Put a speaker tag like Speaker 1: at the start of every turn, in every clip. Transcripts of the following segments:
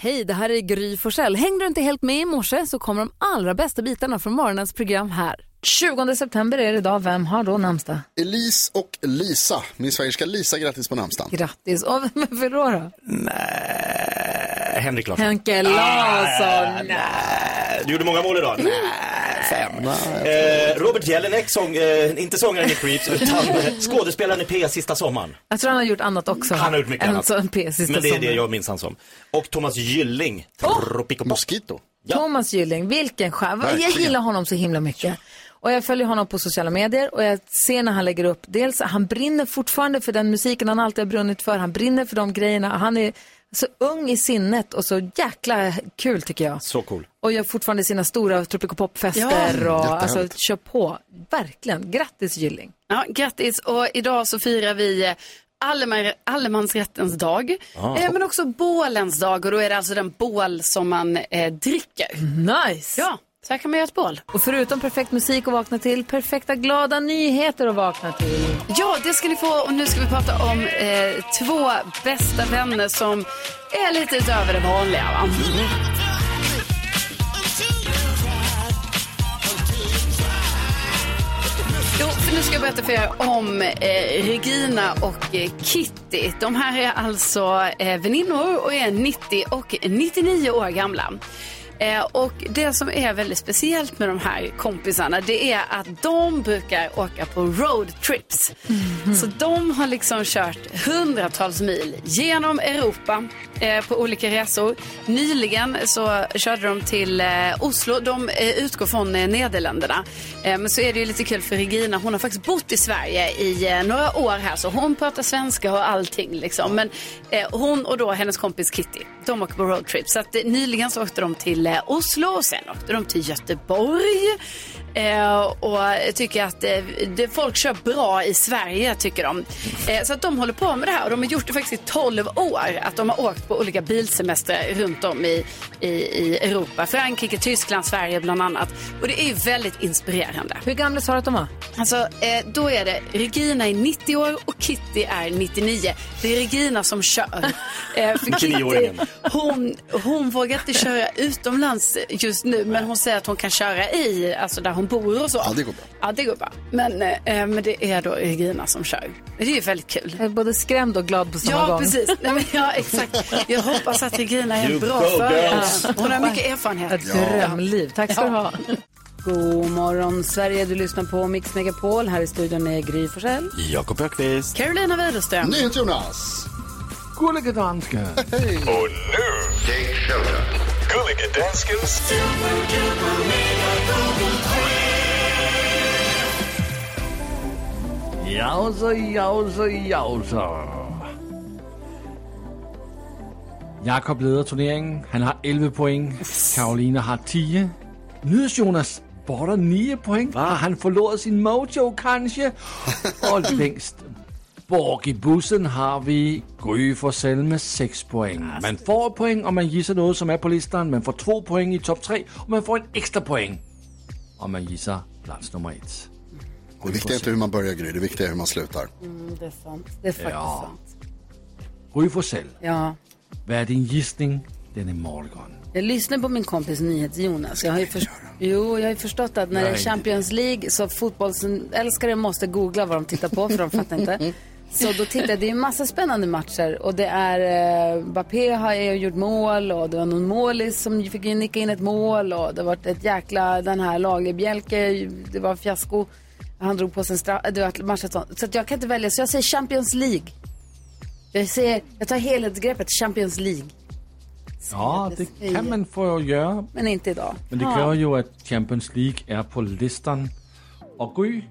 Speaker 1: Hej, det här är Gry Forssell. Hängde du inte helt med i morse så kommer de allra bästa bitarna från morgonens program här. 20 september är det idag. Vem har då namnsdag?
Speaker 2: Elise och Lisa. Min svägerska Lisa, grattis på namnsdagen.
Speaker 1: Grattis. Och vem är för då? då?
Speaker 3: Nej, Henrik Larsson.
Speaker 1: Henke Larsson.
Speaker 3: Nej, Du gjorde många mål idag. Nej, fem. eh, Robert Jelinek, sång, eh, inte sångaren i Creeps, utan eh, skådespelaren i P sista sommaren.
Speaker 1: Jag tror han har gjort annat också.
Speaker 3: Han har gjort mycket
Speaker 1: en
Speaker 3: annat.
Speaker 1: Sån PS sista
Speaker 3: Men det är det
Speaker 1: sommaren.
Speaker 3: jag minns han som. Och Thomas Gylling, Tropicopop.
Speaker 2: Mosquito.
Speaker 3: Ja.
Speaker 1: Thomas Gylling, vilken stjärna. Jag
Speaker 2: Verkligen.
Speaker 1: gillar honom så himla mycket. Och jag följer honom på sociala medier och jag ser när han lägger upp, dels han brinner fortfarande för den musiken han alltid har brunnit för, han brinner för de grejerna. Han är så ung i sinnet och så jäkla kul tycker jag.
Speaker 3: Så cool.
Speaker 1: Och gör fortfarande sina stora tropicopopfester och alltså,
Speaker 2: jättehärligt.
Speaker 1: kör på. Verkligen, grattis Gylling.
Speaker 4: Ja, grattis! Och idag så firar vi eh, allema- allemansrättens dag, eh, men också bålens dag. Och då är det alltså den bål som man eh, dricker.
Speaker 1: Mm. Nice!
Speaker 4: Ja, så här kan man göra ett bål.
Speaker 1: Och förutom perfekt musik att vakna till, perfekta glada nyheter att vakna till.
Speaker 4: Ja, det ska ni få. Och nu ska vi prata om eh, två bästa vänner som är lite utöver det vanliga. Va? Jo, för nu ska jag berätta för er om eh, Regina och eh, Kitty. De här är alltså eh, väninnor och är 90 och 99 år gamla. Eh, och det som är väldigt speciellt med de här kompisarna det är att de brukar åka på roadtrips. Så de har liksom kört hundratals mil genom Europa eh, på olika resor. Nyligen så körde de till eh, Oslo. De eh, utgår från eh, Nederländerna. Eh, men så är det ju lite kul för Regina, hon har faktiskt bott i Sverige i eh, några år här så hon pratar svenska och allting liksom. Men eh, hon och då hennes kompis Kitty, de åker på roadtrip. Så att, eh, nyligen så åkte de till eh, Oslo och sen åkte de till Göteborg. Eh, och jag tycker att eh, det, folk kör bra i Sverige tycker de. Eh, så att de håller på med det här och de har gjort det faktiskt i 12 år. Att de har åkt på olika bilsemestrar runt om i, i, i Europa. Frankrike, Tyskland, Sverige bland annat. Och det är ju väldigt inspirerande.
Speaker 1: Hur gamla sa du att de var?
Speaker 4: Alltså, eh, då är det Regina är 90 år och Kitty är 99. Det är Regina som kör. Eh, för Kitty,
Speaker 3: 99-åringen.
Speaker 4: hon, hon vågar inte köra utomlands just nu, men hon säger att hon kan köra i, alltså där hon bor och så.
Speaker 2: Ja, det går bra.
Speaker 4: Ja, det går bra. Men, eh, men det är då Regina som kör. Det är ju väldigt kul.
Speaker 1: Jag är Eh, både skrämd och glad på samma
Speaker 4: Ja,
Speaker 1: gång.
Speaker 4: precis. Nej, men, ja, exakt. Jag hoppas att Regina är
Speaker 3: You
Speaker 4: en bra
Speaker 3: go,
Speaker 4: förare.
Speaker 3: girls.
Speaker 4: Hon har mycket erfarenhet.
Speaker 1: Ett drömliv. Tack ska du ha. God morgon Sverige, du lyssnar på Mix Megapol. Här i studion är Gry Forssell.
Speaker 3: Jakob Ökvist.
Speaker 4: Carolina Widerström.
Speaker 2: Jonas.
Speaker 5: Gullige danska.
Speaker 6: Och nu, Jake Shelton. Gullige Danskens
Speaker 5: Jausa, jausa, jausa. Jakob leder turneringen. Han har 11 point. Karoline har 10. Nydes Jonas borter 9 point. Har han förlorat sin mojo kanske? Och längst bak i bussen har vi Gry Forssell med 6 poäng. Man får et point om man gissar något som är på listan. Man får 2 poäng i topp 3 och man får en extra poäng om man gissar plats nummer 1.
Speaker 2: Det viktiga är inte hur man börjar Gry, det viktiga är hur man slutar.
Speaker 1: Det är sant. Det är faktiskt
Speaker 5: Ja.
Speaker 1: sant.
Speaker 5: Gry Forssell.
Speaker 1: Ja.
Speaker 5: Vad är din gissning denna morgon?
Speaker 1: Jag lyssnar på min kompis NyhetsJonas. Jag har ju först... Jo, jag har ju förstått att när det är Champions League så fotbollsälskare måste googla vad de tittar på för de fattar inte. Så då tittar jag, det är ju massa spännande matcher och det är eh, Mbappé har ju gjort mål och det var någon målis som fick ju nicka in ett mål och det var ett jäkla, den här Lagerbjälke, det var fiasko. Han drog på sig en straff, det var ett match ett sånt. Så att jag kan inte välja, så jag säger Champions League. Jag säger, jag tar helhetsgreppet Champions League,
Speaker 5: Ja, det kan man få göra.
Speaker 1: men inte idag.
Speaker 5: Men det kräver ju att Champions League är på listan. Och Gry?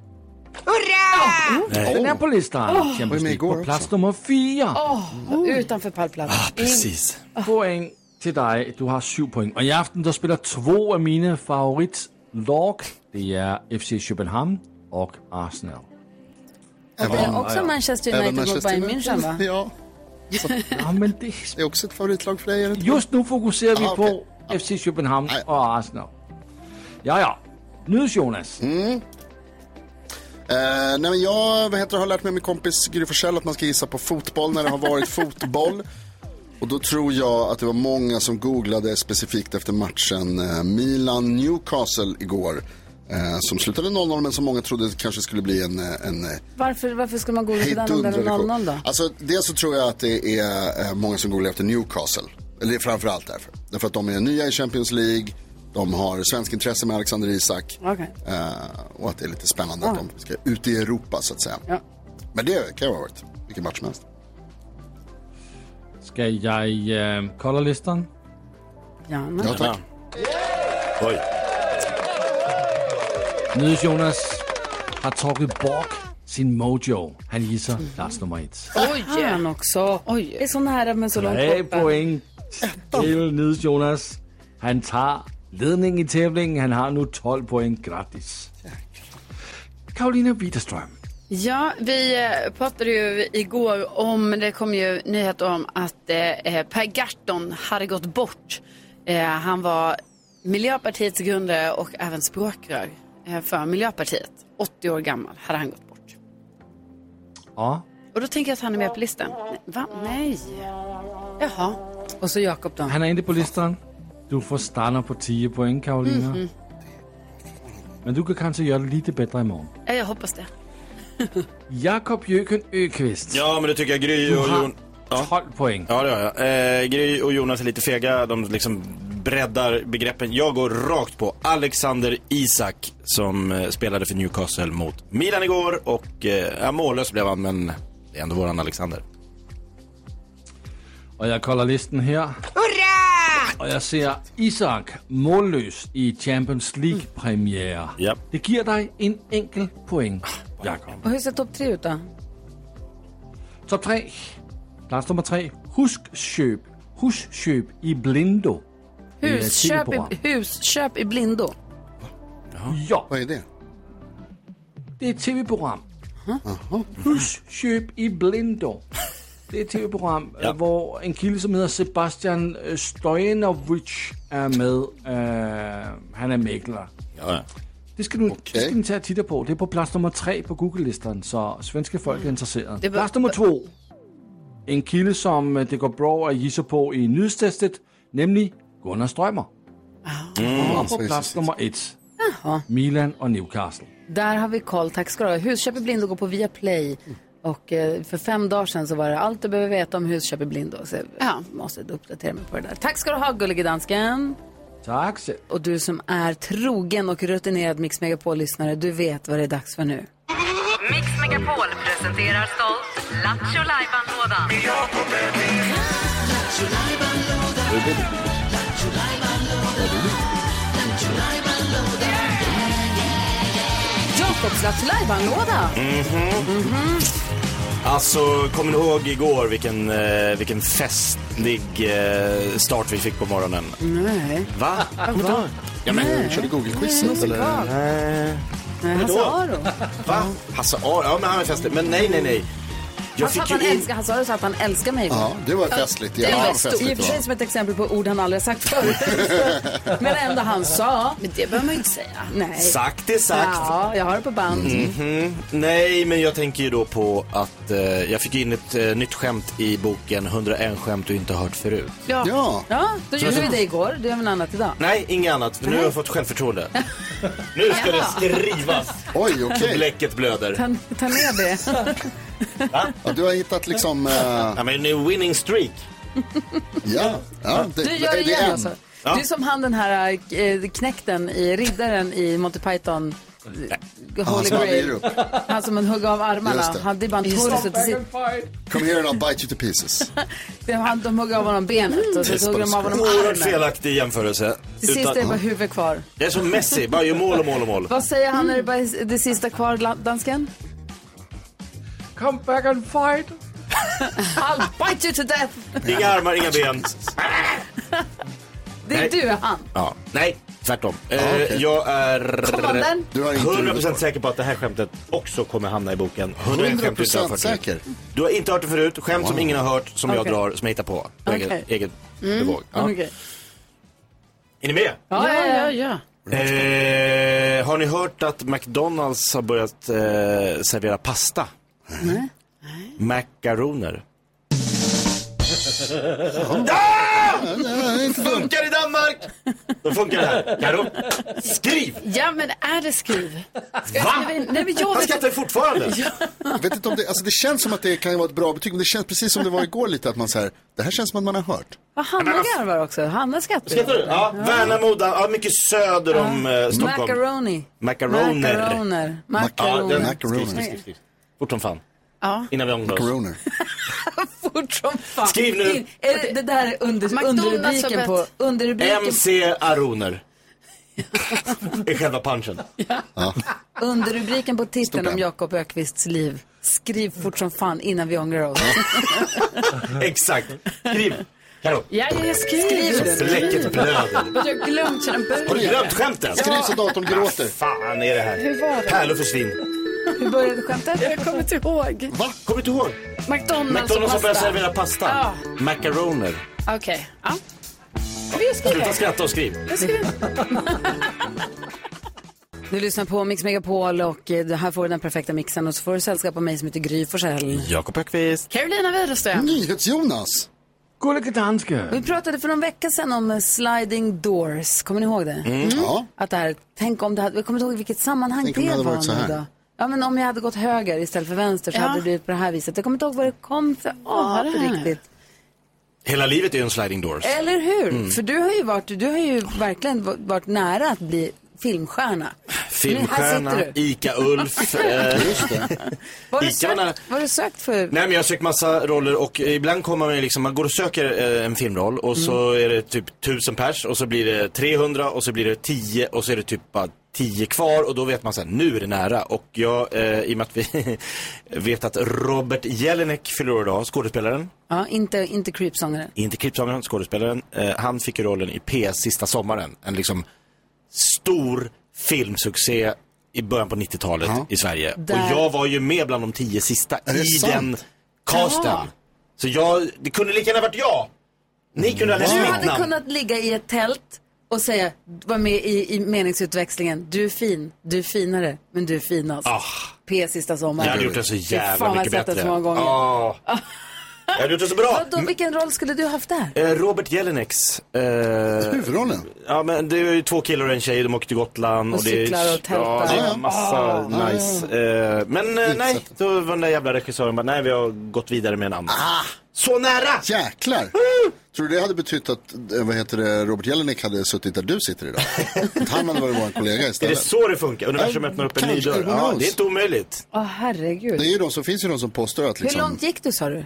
Speaker 5: Hurra! Den är på listan.
Speaker 2: var
Speaker 5: Champions
Speaker 2: med
Speaker 5: League
Speaker 2: igår
Speaker 5: på plats nummer fyra.
Speaker 1: Utanför pallplatsen.
Speaker 3: Precis.
Speaker 5: Poäng till dig. Du har sju poäng. Och i aften då spelar två av mina favoritlag. Det är FC Köpenhamn och Arsenal.
Speaker 1: Det är också Manchester United mot Bayern München va?
Speaker 2: Ja,
Speaker 5: Ja, men det
Speaker 2: det är också ett favoritlag för dig. Är det inte?
Speaker 5: Just nu fokuserar vi
Speaker 2: Ah,
Speaker 5: på FC Köpenhamn och Arsenal. Ja, ja. Nyhets Jonas.
Speaker 2: Mm. Eh, nej, men jag vad heter, det, har lärt mig av min kompis Gry Forssell att man ska gissa på fotboll när det har varit fotboll. Och då tror jag att det var många som googlade specifikt efter matchen eh, Milan-Newcastle igår. Eh, som slutade 0-0 men som många trodde kanske skulle bli en, eh, en eh,
Speaker 1: Varför, varför skulle man gå till den om den är
Speaker 2: Hejdundrande
Speaker 1: 0-0
Speaker 2: show.
Speaker 1: då?
Speaker 2: Alltså, dels så tror jag att det är eh, många som googlar efter Newcastle. Eller det är framför allt därför. Därför att de är nya i Champions League, de har svensk intresse med Alexander Isak
Speaker 1: Okej.
Speaker 2: eh, och att det är lite spännande att de ska ut i Europa så att säga.
Speaker 1: Ja.
Speaker 2: Men det kan ju ha varit vilken match som helst.
Speaker 5: Skal jeg øh, kolde listeren?
Speaker 1: Gärna.
Speaker 2: Ja, tack.
Speaker 3: Oj.
Speaker 5: Nydes Jonas har trukket Borg sin mojo. Han hisser Lars nummer et.
Speaker 4: Oj!
Speaker 1: Fan också. Oj. Det är så nära men så långt
Speaker 5: Tre
Speaker 1: borta.
Speaker 5: point til Nydes Jonas. Han tager ledningen i tävlingen. Han har nu 12 point gratis. Karolina Widerström.
Speaker 4: Ja, vi eh, pratade ju igår om, det kom ju nyheter om att eh, Per Gahrton hade gått bort. Eh, han var Miljöpartiets grundare och även språkrör eh, för Miljöpartiet. 80 år gammal hade han gått bort.
Speaker 5: Og
Speaker 4: Och då tänker jag att han är med på listan. Nej, va? Nej. Jaha.
Speaker 1: Och så Jakob då.
Speaker 5: han er inde på listeren. Du får starter på 10 point, Karolina. Men du kan kanskje gøre det lidt bedre i morgen.
Speaker 4: Ja, jag hoppas det.
Speaker 5: Jakob Jøken Økvist.
Speaker 3: Ja, men det tycker jag Gry och
Speaker 5: har
Speaker 3: Jon... Ja.
Speaker 5: 12 point.
Speaker 3: Ja, det har jag. Eh, Gry och Jonas är lite fega. De liksom breddar begreppen. Jag går rakt på Alexander Isak som eh, spelade för Newcastle mot Milan igår och eh, ja, mållös blev han, men det är ändå våran Alexander.
Speaker 5: Og jeg kolder listen her. Hurra! Og jeg ser Isak målløs i Champions League premiere.
Speaker 3: Ja.
Speaker 5: Det giver dig en enkel point, Jakob.
Speaker 1: Och hur ser topp tre ut då?
Speaker 5: Top 3. Plads nummer 3. Huskøb. Huskøb i Blindo. Det er et
Speaker 1: Husköp
Speaker 5: tv-program.
Speaker 1: i, husköp i blindo.
Speaker 5: Ja,
Speaker 2: Vad är det?
Speaker 5: det er et tv-program. Huskøb i Blindo. Det er et tv-program,
Speaker 3: Ja.
Speaker 5: øh, hvor en kilde, som hedder Sebastian øh, Stojanovic, er med. Øh, han er mægler.
Speaker 3: Ja, ja.
Speaker 5: Det skal, du, det skal ni tage og titte på. Det er på plads nummer 3 på Google-listen, så svenske folk er interesserede.
Speaker 4: Det var-
Speaker 5: Plads nummer 2. En kilde, som øh, det går bra at gisse på i nyhedstestet, nemlig Gunnar Strømmer.
Speaker 4: Ah.
Speaker 5: Og på plads nummer 1. Milan och Newcastle.
Speaker 1: Där har vi koll, tack ska du ha. Husköp i blindo går på Viaplay. Och eh, för fem dagar sedan så var det allt du behöver veta om husköp i blindo. Så jag
Speaker 4: Ja.
Speaker 1: måste uppdatera mig på det där. Tack ska du ha gullige dansken.
Speaker 5: Tak selv.
Speaker 1: Och du som är trogen och rutinerad Mix Megapol-lyssnare, du vet vad det är dags för nu.
Speaker 7: Mix Megapol presenterar stolt Lattjo Lajban-lådan.
Speaker 1: Jakobs Lattjo-lajban-låda!
Speaker 3: Alltså, kommer ni ihåg igår vilken, eh, vilken festlig eh, start vi fick på morgonen?
Speaker 1: Nej.
Speaker 3: Va? Ja, men,
Speaker 2: Körde Google-quizet eller?
Speaker 1: Nej, Hasse
Speaker 3: Vadå?
Speaker 1: Aro.
Speaker 3: va? Hasse Aro? Ja, men han är festlig. Men nej, nej, nej. Jag
Speaker 1: Han sa
Speaker 3: fick
Speaker 1: att
Speaker 3: ju
Speaker 1: han
Speaker 3: in...
Speaker 1: älskar, Hasse Aro sa att han älskar mig.
Speaker 2: Ja, det var festligt.
Speaker 1: Det
Speaker 2: Jävlar
Speaker 1: var
Speaker 2: vad
Speaker 1: stort. I och för
Speaker 2: festligt det
Speaker 1: sig
Speaker 2: var.
Speaker 1: som ett exempel på ord han aldrig har sagt förut. Men ändå han sa.
Speaker 4: Men det behöver man ju inte säga.
Speaker 1: Nej.
Speaker 3: Sagt är sagt.
Speaker 1: Ja, jag har det på band.
Speaker 3: Mm, Nej, men jag tänker ju då på att eh, jag fick in ett eh, nytt skämt i boken 101 skämt du inte hört förut.
Speaker 2: Ja,
Speaker 1: Ja, då gjorde vi det igår. Du gör vi något annat idag.
Speaker 3: Nej, inget annat. Nu har jag fått självförtroende. nu ska det skrivas.
Speaker 2: oj okej.
Speaker 3: Bläcket blöder.
Speaker 1: Ta, ta med det.
Speaker 2: Ja, du har hittat liksom... eh,
Speaker 3: Ja, men nu winning streak.
Speaker 2: ja, ja, det,
Speaker 1: Du gör det
Speaker 2: är
Speaker 1: igen
Speaker 2: en?
Speaker 1: alltså.
Speaker 3: Ja.
Speaker 1: Du är som han den här eh, knäkten i Riddaren i Monty Python. eh,
Speaker 2: Han
Speaker 1: Holy
Speaker 2: som aldrig ger
Speaker 1: Grail.
Speaker 2: upp.
Speaker 1: Han som man hugg av armarna.
Speaker 2: Just det.
Speaker 1: Han, det är bara en torso till sitt.
Speaker 2: Come here and I'll bite you to pieces.
Speaker 1: det är han- De hugger av honom benet och så hugger de av honom
Speaker 3: Oerhört
Speaker 1: armen.
Speaker 3: felaktig jämförelse.
Speaker 1: Till sist är det bara huvudet kvar.
Speaker 3: det är som Messi, bara gör mål och mål och mål.
Speaker 1: Vad säger han när det bara är det sista kvar, la- dansken?
Speaker 5: Come back and fight.
Speaker 1: I'll bite you to death!
Speaker 3: Inga armar, inga ben.
Speaker 1: Det är
Speaker 3: Nej.
Speaker 1: du, han.
Speaker 3: Ja, nej, tvärtom. Eh, Jag är
Speaker 1: Kommanden.
Speaker 2: Du har inte huvudet
Speaker 3: 100%
Speaker 2: kvar.
Speaker 3: säker på att det här skämtet också kommer hamna i boken. 101 skämt du inte har
Speaker 2: 100%
Speaker 3: hört
Speaker 2: säker.
Speaker 3: Du har inte hört det förut, skämt som ingen har hört, som jag
Speaker 1: Okej.
Speaker 3: drar, som jag hittar på. på
Speaker 1: Okej.
Speaker 3: eget, eget bevåg. Ja.
Speaker 1: Okej.
Speaker 3: Är ni med?
Speaker 1: Ja, ja, ja.
Speaker 4: ja.
Speaker 3: Eh, har ni hört att McDonalds har börjat eh, servera pasta? Nej. Macaroner.
Speaker 2: Nej, inte dumt.
Speaker 3: Funkar i Danmark! Då funkar det här. Karo, skriv!
Speaker 4: Ja, men är det skriv? Ska jag
Speaker 3: Va?
Speaker 4: skriva in? Nej, men jag
Speaker 3: Han
Speaker 4: vet
Speaker 3: skrattar fortfarande.
Speaker 2: Jag vet inte om det, alltså det känns som att det kan vara ett bra betyg, men det känns precis som det var igår lite att man så här, det här känns som att man har hört.
Speaker 1: Vad Hanna garvar också. Hanna
Speaker 3: Skrattar
Speaker 1: skrattar.
Speaker 3: du? Ja, Värnamo, Dan- ja, mycket söder om eh, Stockholm.
Speaker 1: Macaroni.
Speaker 3: Macaroner.
Speaker 1: Macaroner.
Speaker 3: Ja, den-
Speaker 1: Macaroner.
Speaker 2: Macaroner.
Speaker 3: Skriv, skriv, skriv, skriv. Fort som fan. Innan vi ångrar oss.
Speaker 2: Corona.
Speaker 1: Fort som fan.
Speaker 3: Skriv nu.
Speaker 1: In- Är det, det där är under,
Speaker 4: McDonald's har
Speaker 1: underrubriken
Speaker 4: bett.
Speaker 1: på... Underrubriken,
Speaker 3: MC Aroner. är själva punchen.
Speaker 1: underrubriken på titeln om
Speaker 2: M.
Speaker 1: Jakob Ökvists liv. Skriv fort som fan innan vi ångrar oss.
Speaker 3: Exakt. Skriv. Karo.
Speaker 4: Ja, ja, jag skriver.
Speaker 1: Skriv
Speaker 4: den.
Speaker 3: Bläcket blöder.
Speaker 4: Jag har glömt hur den
Speaker 3: Har du
Speaker 4: började.
Speaker 3: glömt skämtet?
Speaker 2: Skriv så datorn gråter.
Speaker 3: fan är det här?
Speaker 4: var det?
Speaker 3: Pärlor försvinn.
Speaker 1: Hur började skämtet?
Speaker 4: Jag kommer inte ihåg.
Speaker 3: Va? Kommer du inte ihåg?
Speaker 4: McDonalds och
Speaker 3: McDonalds har börjat
Speaker 4: pasta.
Speaker 3: servera pasta.
Speaker 4: Ja.
Speaker 3: Macaroner.
Speaker 4: Okej. Ja. Men
Speaker 3: Sluta
Speaker 4: jag skriver.
Speaker 3: skratta och skriv.
Speaker 4: Jag skriver.
Speaker 1: Du lyssnar på Mix Megapol och eh, det här får du den perfekta mixen och så får du sällskap av mig som heter Gry Forssell.
Speaker 3: Jakob Öqvist.
Speaker 4: Carolina Widerström.
Speaker 2: NyhetsJonas.
Speaker 5: Gullige danske.
Speaker 1: Vi pratade för någon vecka sedan om eh, sliding doors. Kommer ni ihåg det?
Speaker 3: Mm.
Speaker 2: Ja.
Speaker 1: Att det här, tänk om det hade, jag kommer inte ihåg i vilket sammanhang
Speaker 2: Tänk
Speaker 1: det,
Speaker 2: om det hade
Speaker 1: var
Speaker 2: varit så
Speaker 1: nu
Speaker 2: här.
Speaker 1: då. Ja men om jag hade gått höger istället för vänster så
Speaker 4: Ja.
Speaker 1: hade det blivit på det här viset. Jag kommer inte ihåg vad det kom för
Speaker 4: vad
Speaker 1: art
Speaker 4: det här är.
Speaker 1: riktigt.
Speaker 3: Hela livet är ju en sliding doors.
Speaker 1: Eller hur? För du har ju varit, du har ju verkligen va- varit nära att bli filmstjärna. Men här
Speaker 3: Filmstjärna,
Speaker 1: sitter du.
Speaker 3: Ica-Ulf. eh,
Speaker 1: Vad har du
Speaker 3: Ica
Speaker 1: sökt,
Speaker 3: var nära.
Speaker 1: vad har du sökt för?
Speaker 3: Nej men jag har sökt massa roller och ibland kommer man ju liksom, man går och söker eh, en filmroll och så är det typ 1000 pers och så blir det 300 och så blir det 10 och så är det typ bara 10 kvar och då vet man såhär, nu är det nära. Och jag, eh, i och med att vi vet att Robert Jelinek fyller år idag, skådespelaren,
Speaker 1: Ja, inte, inte creepsångaren.
Speaker 3: inte klippsångaren, skådespelaren, eh, han fick ju rollen i PS sista sommaren. En liksom stor filmsuccé i början på 90-talet i Sverige.
Speaker 1: Där-
Speaker 3: Och jag var ju med bland de tio sista
Speaker 2: det
Speaker 3: i
Speaker 2: sant?
Speaker 3: den casten.
Speaker 1: Ja.
Speaker 3: Så jag, det kunde lika gärna varit jag. Ni kunde ha läst
Speaker 1: Du
Speaker 3: mitt
Speaker 1: hade
Speaker 3: namn.
Speaker 1: kunnat ligga i ett tält och säga, var med i, i meningsutväxlingen, du är fin, du är finare, men du är finast.
Speaker 3: Ah.
Speaker 1: P sista
Speaker 3: Jag
Speaker 1: sommaren.
Speaker 3: hade gjort den så
Speaker 1: Fy fan,
Speaker 3: jävla
Speaker 1: jag har
Speaker 3: mycket
Speaker 1: sett den
Speaker 3: bättre.
Speaker 1: så många gånger.
Speaker 3: Ah. Jag hade gjort det så bra.
Speaker 1: Vadå, vilken roll skulle du haft där?
Speaker 3: Eh, Robert Jelineks. Eh,
Speaker 2: Huvudrollen.
Speaker 3: Ja men det är ju två killar och en tjej, de åker till Gotland.
Speaker 1: Och
Speaker 3: det är,
Speaker 1: cyklar och tältar. Ah.
Speaker 3: Ja, det
Speaker 2: Ja,
Speaker 3: är
Speaker 2: ja.
Speaker 3: en massa nice. Eh, men eh, nej, då var den där jävla regissören bara, nej vi har gått vidare med en annan.
Speaker 1: Ah.
Speaker 3: Så nära!
Speaker 2: Jäklar. Tror du det hade betytt att eh, vad heter det, Robert Jelinek hade suttit där du sitter idag? Att han hade varit vår kollega
Speaker 3: Är det
Speaker 2: istället.
Speaker 3: så det funkar? Universum öppnar upp en ny
Speaker 2: Kanske,
Speaker 3: dörr.
Speaker 2: who
Speaker 3: Ja,
Speaker 2: knows?
Speaker 3: det är inte omöjligt.
Speaker 1: Åh herregud.
Speaker 2: Det är ju de som finns ju de som påstår att
Speaker 1: Hur
Speaker 2: liksom,
Speaker 1: långt gick du sa du?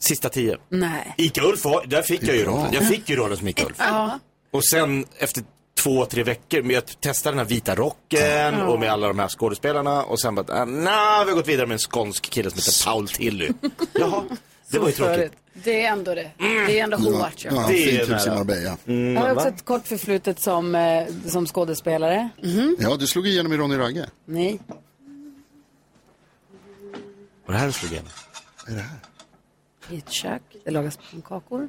Speaker 3: Sista tio.
Speaker 1: Nej.
Speaker 3: Ica-Ulf, var- där fick jag ju
Speaker 2: bra.
Speaker 3: rollen. Jag fick ju rollen som Ica-Ulf. Och sen efter två, tre veckor, men jag testade den här vita rocken och med alla de här skådespelarna och sen bara, ah, nej, vi har gått vidare med en skånsk kille som heter Paul Tilly. Jaha, det var ju tråkigt.
Speaker 1: Förut.
Speaker 4: Det är ändå det. Det är ändå hårt.
Speaker 2: Mm. ja,
Speaker 4: Ja.
Speaker 2: ja, typ
Speaker 3: Det är
Speaker 2: fint hus i
Speaker 3: nära.
Speaker 2: Marbella.
Speaker 1: Jag
Speaker 2: Mm.
Speaker 1: har också ett kort förflutet som, eh, som skådespelare.
Speaker 2: Ja, du slog igenom i Ronny Ragge.
Speaker 1: Nej.
Speaker 3: Var det här du slog igenom?
Speaker 1: I ett kök. Det lagas pannkakor.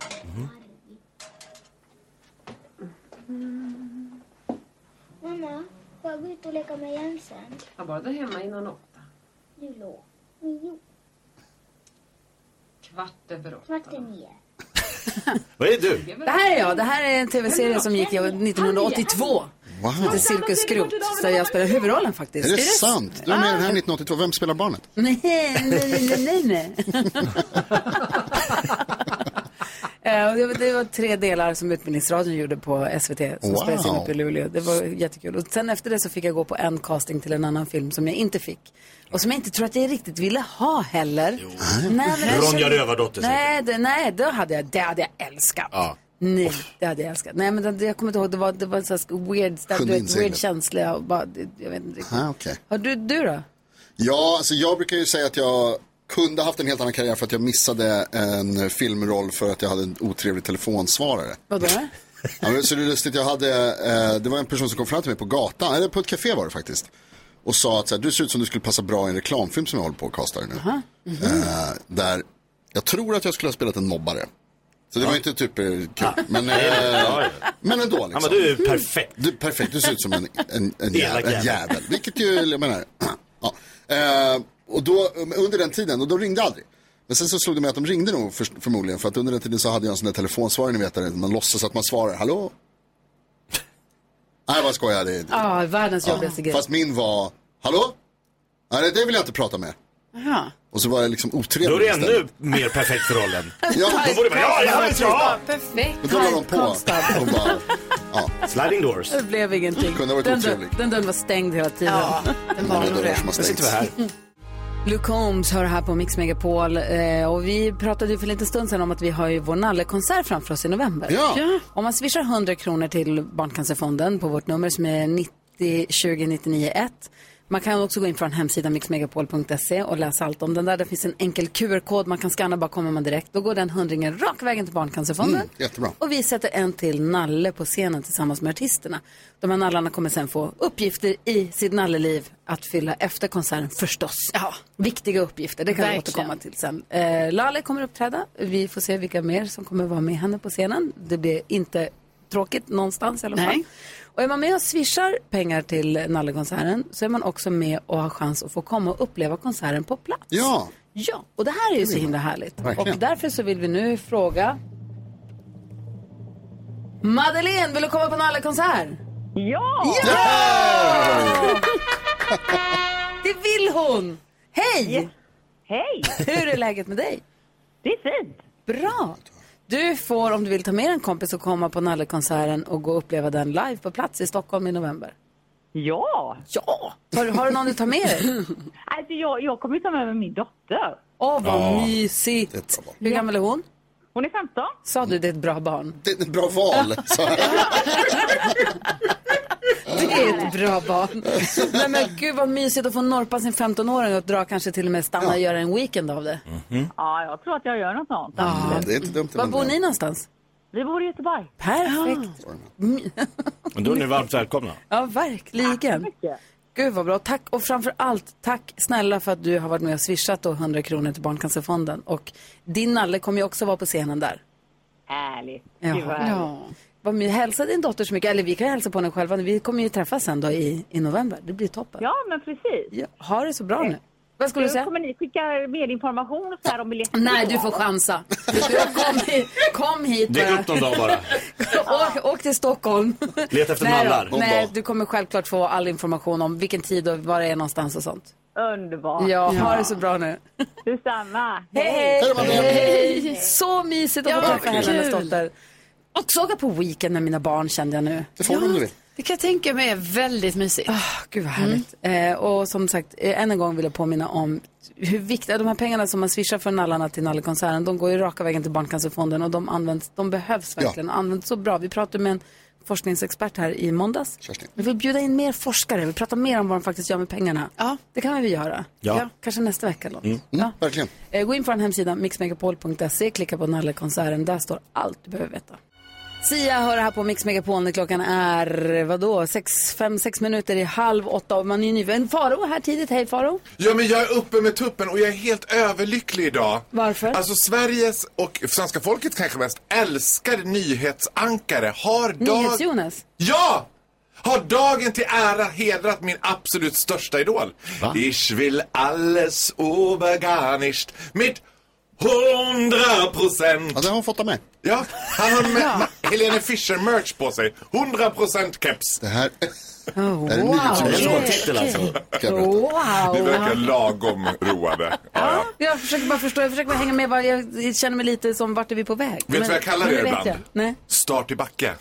Speaker 8: Mamma, får jag gå ut och leka med Jensen?
Speaker 7: Han var där hemma innan åtta.
Speaker 8: Nu låg nio,
Speaker 7: Kvart över åtta.
Speaker 8: kvart i nio.
Speaker 3: Vad är du?
Speaker 1: Det här är jag. Det här är en tv-serie som gick i 1982.
Speaker 4: Mm.
Speaker 2: Wow.
Speaker 1: Lite Cirkus Skrot. Där jag spelar huvudrollen faktiskt.
Speaker 2: Är det sant? Du är med i den här 1982. Vem spelar barnet?
Speaker 1: Nej, nej, nej, nej, nej. Eh, och det, var- det var tre delar som Utbildningsradion gjorde på SVT som
Speaker 2: Wow.
Speaker 1: spelades in uppe i Luleå. Det var jättekul. Och sen efter det så fick jag gå på en casting till en annan film som jag inte fick. Och som jag inte tror att jag riktigt ville ha heller. Nej, men jag
Speaker 3: Ronja
Speaker 1: kände-
Speaker 3: Rövardotter säkert.
Speaker 1: Nej, det, nej det, hade jag, det hade jag älskat.
Speaker 3: Ja.
Speaker 1: Nej, det hade jag älskat. Nej, men det, det- jag kommer inte ihåg. Det var, det var så här weird, ställe, du vet, weird
Speaker 2: Sjödinseglet.
Speaker 1: känsla. Jag, bara, det- jag vet inte riktigt.
Speaker 2: Ah, okej.
Speaker 1: Har du, du då?
Speaker 2: Ja, alltså jag brukar ju säga att jag kunde haft en helt annan karriär för att jag missade en filmroll för att jag hade en otrevlig telefonsvarare.
Speaker 1: Vadå?
Speaker 2: Ja, men, så det är lustigt, jag hade, eh, det var en person som kom fram till mig på gatan, eller på ett café var det faktiskt. Och sa att så här, du ser ut som du skulle passa bra i en reklamfilm som jag håller på och castar nu. Eh, där jag tror att jag skulle ha spelat en mobbare. Så det var inte typ eh, kul. Men, eh, men ändå
Speaker 3: Ja,
Speaker 2: liksom.
Speaker 3: men du är perfekt.
Speaker 2: Du, perfekt, du ser ut som en, en, en,
Speaker 3: Elak
Speaker 2: jävel, en
Speaker 3: jävel.
Speaker 2: jävel. eh, Vilket ju, jag menar, ja. Eh, och då, under den tiden, och de ringde aldrig. Men sen så slog det mig att de ringde nog för, förmodligen för att under den tiden så hade jag en sån där telefonsvarare ni vet där man låtsas att man svarar hallå? Nej vad skojar det är-
Speaker 1: Ja, världens jobbigaste grej.
Speaker 2: Fast min var hallå? Nej det vill jag inte prata med.
Speaker 1: Jaha.
Speaker 2: Och så var jag liksom otrevlig
Speaker 3: Då är det
Speaker 2: istället.
Speaker 3: ännu mer perfekt för rollen.
Speaker 2: Ja,
Speaker 3: Då borde man, ja, ja, ja!
Speaker 4: Perfekt.
Speaker 2: men då la de på.
Speaker 1: Konstant.
Speaker 2: Och bara, ja,
Speaker 3: Sliding doors.
Speaker 1: Det blev ingenting.
Speaker 2: Kunde ha varit
Speaker 1: den,
Speaker 2: otrevlig.
Speaker 1: dörren- den dörren var stängd hela tiden.
Speaker 4: Ja, den var
Speaker 2: det
Speaker 4: nog
Speaker 2: är dörrar
Speaker 4: det.
Speaker 2: som har
Speaker 3: Nu sitter vi
Speaker 2: stängts.
Speaker 3: här.
Speaker 1: Luke Holmes hör här på Mix Megapol eh, och vi pratade ju för en liten stund sedan om att vi har ju vår nallekonsert framför oss i november.
Speaker 2: Ja. Ja.
Speaker 1: Om man swishar 100 kronor till Barncancerfonden på vårt nummer som är 90 20 99 1. Man kan också gå in från hemsidan mixmegapol.se och läsa allt om den där. Det finns en enkel QR-kod man kan scanna, bara kommer man direkt. Då går den hundringen rak vägen till Barncancerfonden.
Speaker 2: Mm, jättebra.
Speaker 1: Och vi sätter en till nalle på scenen tillsammans med artisterna. De här nallarna kommer sen få uppgifter i sitt nalleliv att fylla efter konserten förstås.
Speaker 4: Ja.
Speaker 1: Viktiga uppgifter, det kan vi
Speaker 4: Verkligen.
Speaker 1: återkomma till sen. Eh, Lale kommer uppträda, vi får se vilka mer som kommer vara med henne på scenen. Det blir inte tråkigt någonstans i alla fall.
Speaker 4: Nej.
Speaker 1: Och är man med och swishar pengar till nallekonserten så är man också med och har chans att få komma och uppleva konserten på plats.
Speaker 2: Ja,
Speaker 1: Ja, och det här är ju så himla härligt.
Speaker 2: Verkligen.
Speaker 1: Och därför så vill vi nu fråga... Madeleine, vill du komma på Nallekonsert? Ja! det vill hon! Hej!
Speaker 9: Hej!
Speaker 1: Hur är läget med dig?
Speaker 9: Det är fint.
Speaker 1: Bra! Du får, om du vill, ta med en kompis och komma på Nallekonserten och gå och uppleva den live på plats i Stockholm i november.
Speaker 9: Ja!
Speaker 1: Ja! Har, har du någon du tar med dig?
Speaker 9: Alltså jag, jag kommer ju ta med mig min dotter.
Speaker 1: Åh, vad
Speaker 3: Ja.
Speaker 1: mysigt!
Speaker 2: Det är ett bra val.
Speaker 1: Hur gammal är hon?
Speaker 9: Hon är 15.
Speaker 1: Sa du det är ett bra barn?
Speaker 2: det är ett bra val. Så här.
Speaker 1: Det är ett bra barn. Nej men gud vad mysigt att få norpa sin 15-åring och dra kanske till och med stanna och göra en weekend av det.
Speaker 9: Ja, jag tror att jag gör något sånt.
Speaker 2: Det är inte dumt. eh,
Speaker 1: Var bor ni någonstans?
Speaker 9: Vi bor i Göteborg.
Speaker 1: Perfekt.
Speaker 3: Men då är ni varmt välkomna.
Speaker 1: Ja, verkligen.
Speaker 9: mycket.
Speaker 1: Gud vad bra. Tack och framför allt tack snälla för att du har varit med och swishat då 100 kronor till Barncancerfonden. Och din nalle kommer ju också vara på scenen där.
Speaker 9: Härligt.
Speaker 1: Ja.
Speaker 9: Gud vad härligt.
Speaker 4: Ja.
Speaker 1: Vad my- Hälsa din dotter så mycket, eller vi kan ju hälsa på henne själva. Vi kommer ju träffas sen då i, i november. Det blir toppen.
Speaker 9: Ja, men precis.
Speaker 1: Ja, ha det så bra nu. Vad skulle du säga?
Speaker 9: Kommer ni skicka mer information och så här om biljetter?
Speaker 1: Nej, du får chansa. Kom hit, kom hit
Speaker 3: Dyk
Speaker 1: bara.
Speaker 3: upp någon dag bara.
Speaker 1: Åk, åk till Stockholm.
Speaker 3: Leta efter
Speaker 1: Nej då,
Speaker 3: nallar.
Speaker 1: Nej,
Speaker 2: dag.
Speaker 1: du kommer självklart få all information om vilken tid och var det är någonstans och sånt.
Speaker 9: Underbart.
Speaker 1: Ja, ha det så bra nu.
Speaker 9: Detsamma.
Speaker 1: Hej, hej!
Speaker 2: Madeleine.
Speaker 1: Hej. Så mysigt att få
Speaker 4: Ja,
Speaker 1: träffa
Speaker 4: vad
Speaker 1: henne och hennes
Speaker 4: kul.
Speaker 1: dotter. Och såga på weekend med mina barn kände jag nu.
Speaker 2: Det får du om du vill.
Speaker 4: Det kan jag tänka mig är väldigt mysigt.
Speaker 1: Ah, Gud vad härligt. Eh, och som sagt, eh, än en gång vill jag påminna om hur viktiga de här pengarna som man swishar från nallarna till nallekonserten, de går ju raka vägen till Barncancerfonden och de används, de behövs verkligen och används så bra. Vi pratade med en forskningsexpert här i måndags.
Speaker 2: Kerstin.
Speaker 1: Vi vill bjuda in mer forskare, vi pratar mer om vad de faktiskt gör med pengarna.
Speaker 4: Ja.
Speaker 1: Det kan vi väl göra.
Speaker 3: Ja.
Speaker 1: Kanske nästa vecka eller något.
Speaker 2: Mm,
Speaker 1: ja.
Speaker 2: verkligen.
Speaker 1: Eh, Gå in på vår hemsida mixmegapol.se, klicka på nallekonserten, där står allt du behöver veta. Sia hör här på Mix Megapol när klockan är, vadå, sex, fem, sex minuter i halv åtta och man är ju nyfiken. Faro här tidigt, hej Faro.
Speaker 10: Ja, men jag är uppe med tuppen och jag är helt överlycklig idag.
Speaker 1: Varför?
Speaker 10: Alltså Sveriges och svenska folket kanske mest älskar nyhetsankare. Har dag...
Speaker 1: NyhetsJonas.
Speaker 10: Ja! Har dagen till ära hedrat min absolut största idol. Ich will alles obergarnischt mit 100 procent.
Speaker 2: Ja, det har hon fått av mig.
Speaker 10: Ja, han har med ma- Helene Fischer-merch på sig. 100 procent keps.
Speaker 2: Det här
Speaker 1: Oh,
Speaker 2: Det är en nyhetsjournalist.
Speaker 3: Det var
Speaker 1: Okej, okej.
Speaker 3: en titel alltså.
Speaker 2: ska jag berätta.
Speaker 10: Det
Speaker 1: Wow.
Speaker 10: verkar lagom roade. Ja, ja.
Speaker 1: Jag försöker bara förstå, jag försöker bara hänga med, vad- jag känner mig lite som vart är vi på väg?
Speaker 10: du vad jag kallar
Speaker 1: men
Speaker 10: er
Speaker 1: vet
Speaker 10: ibland?
Speaker 1: jag. Nej.
Speaker 10: Start i backe.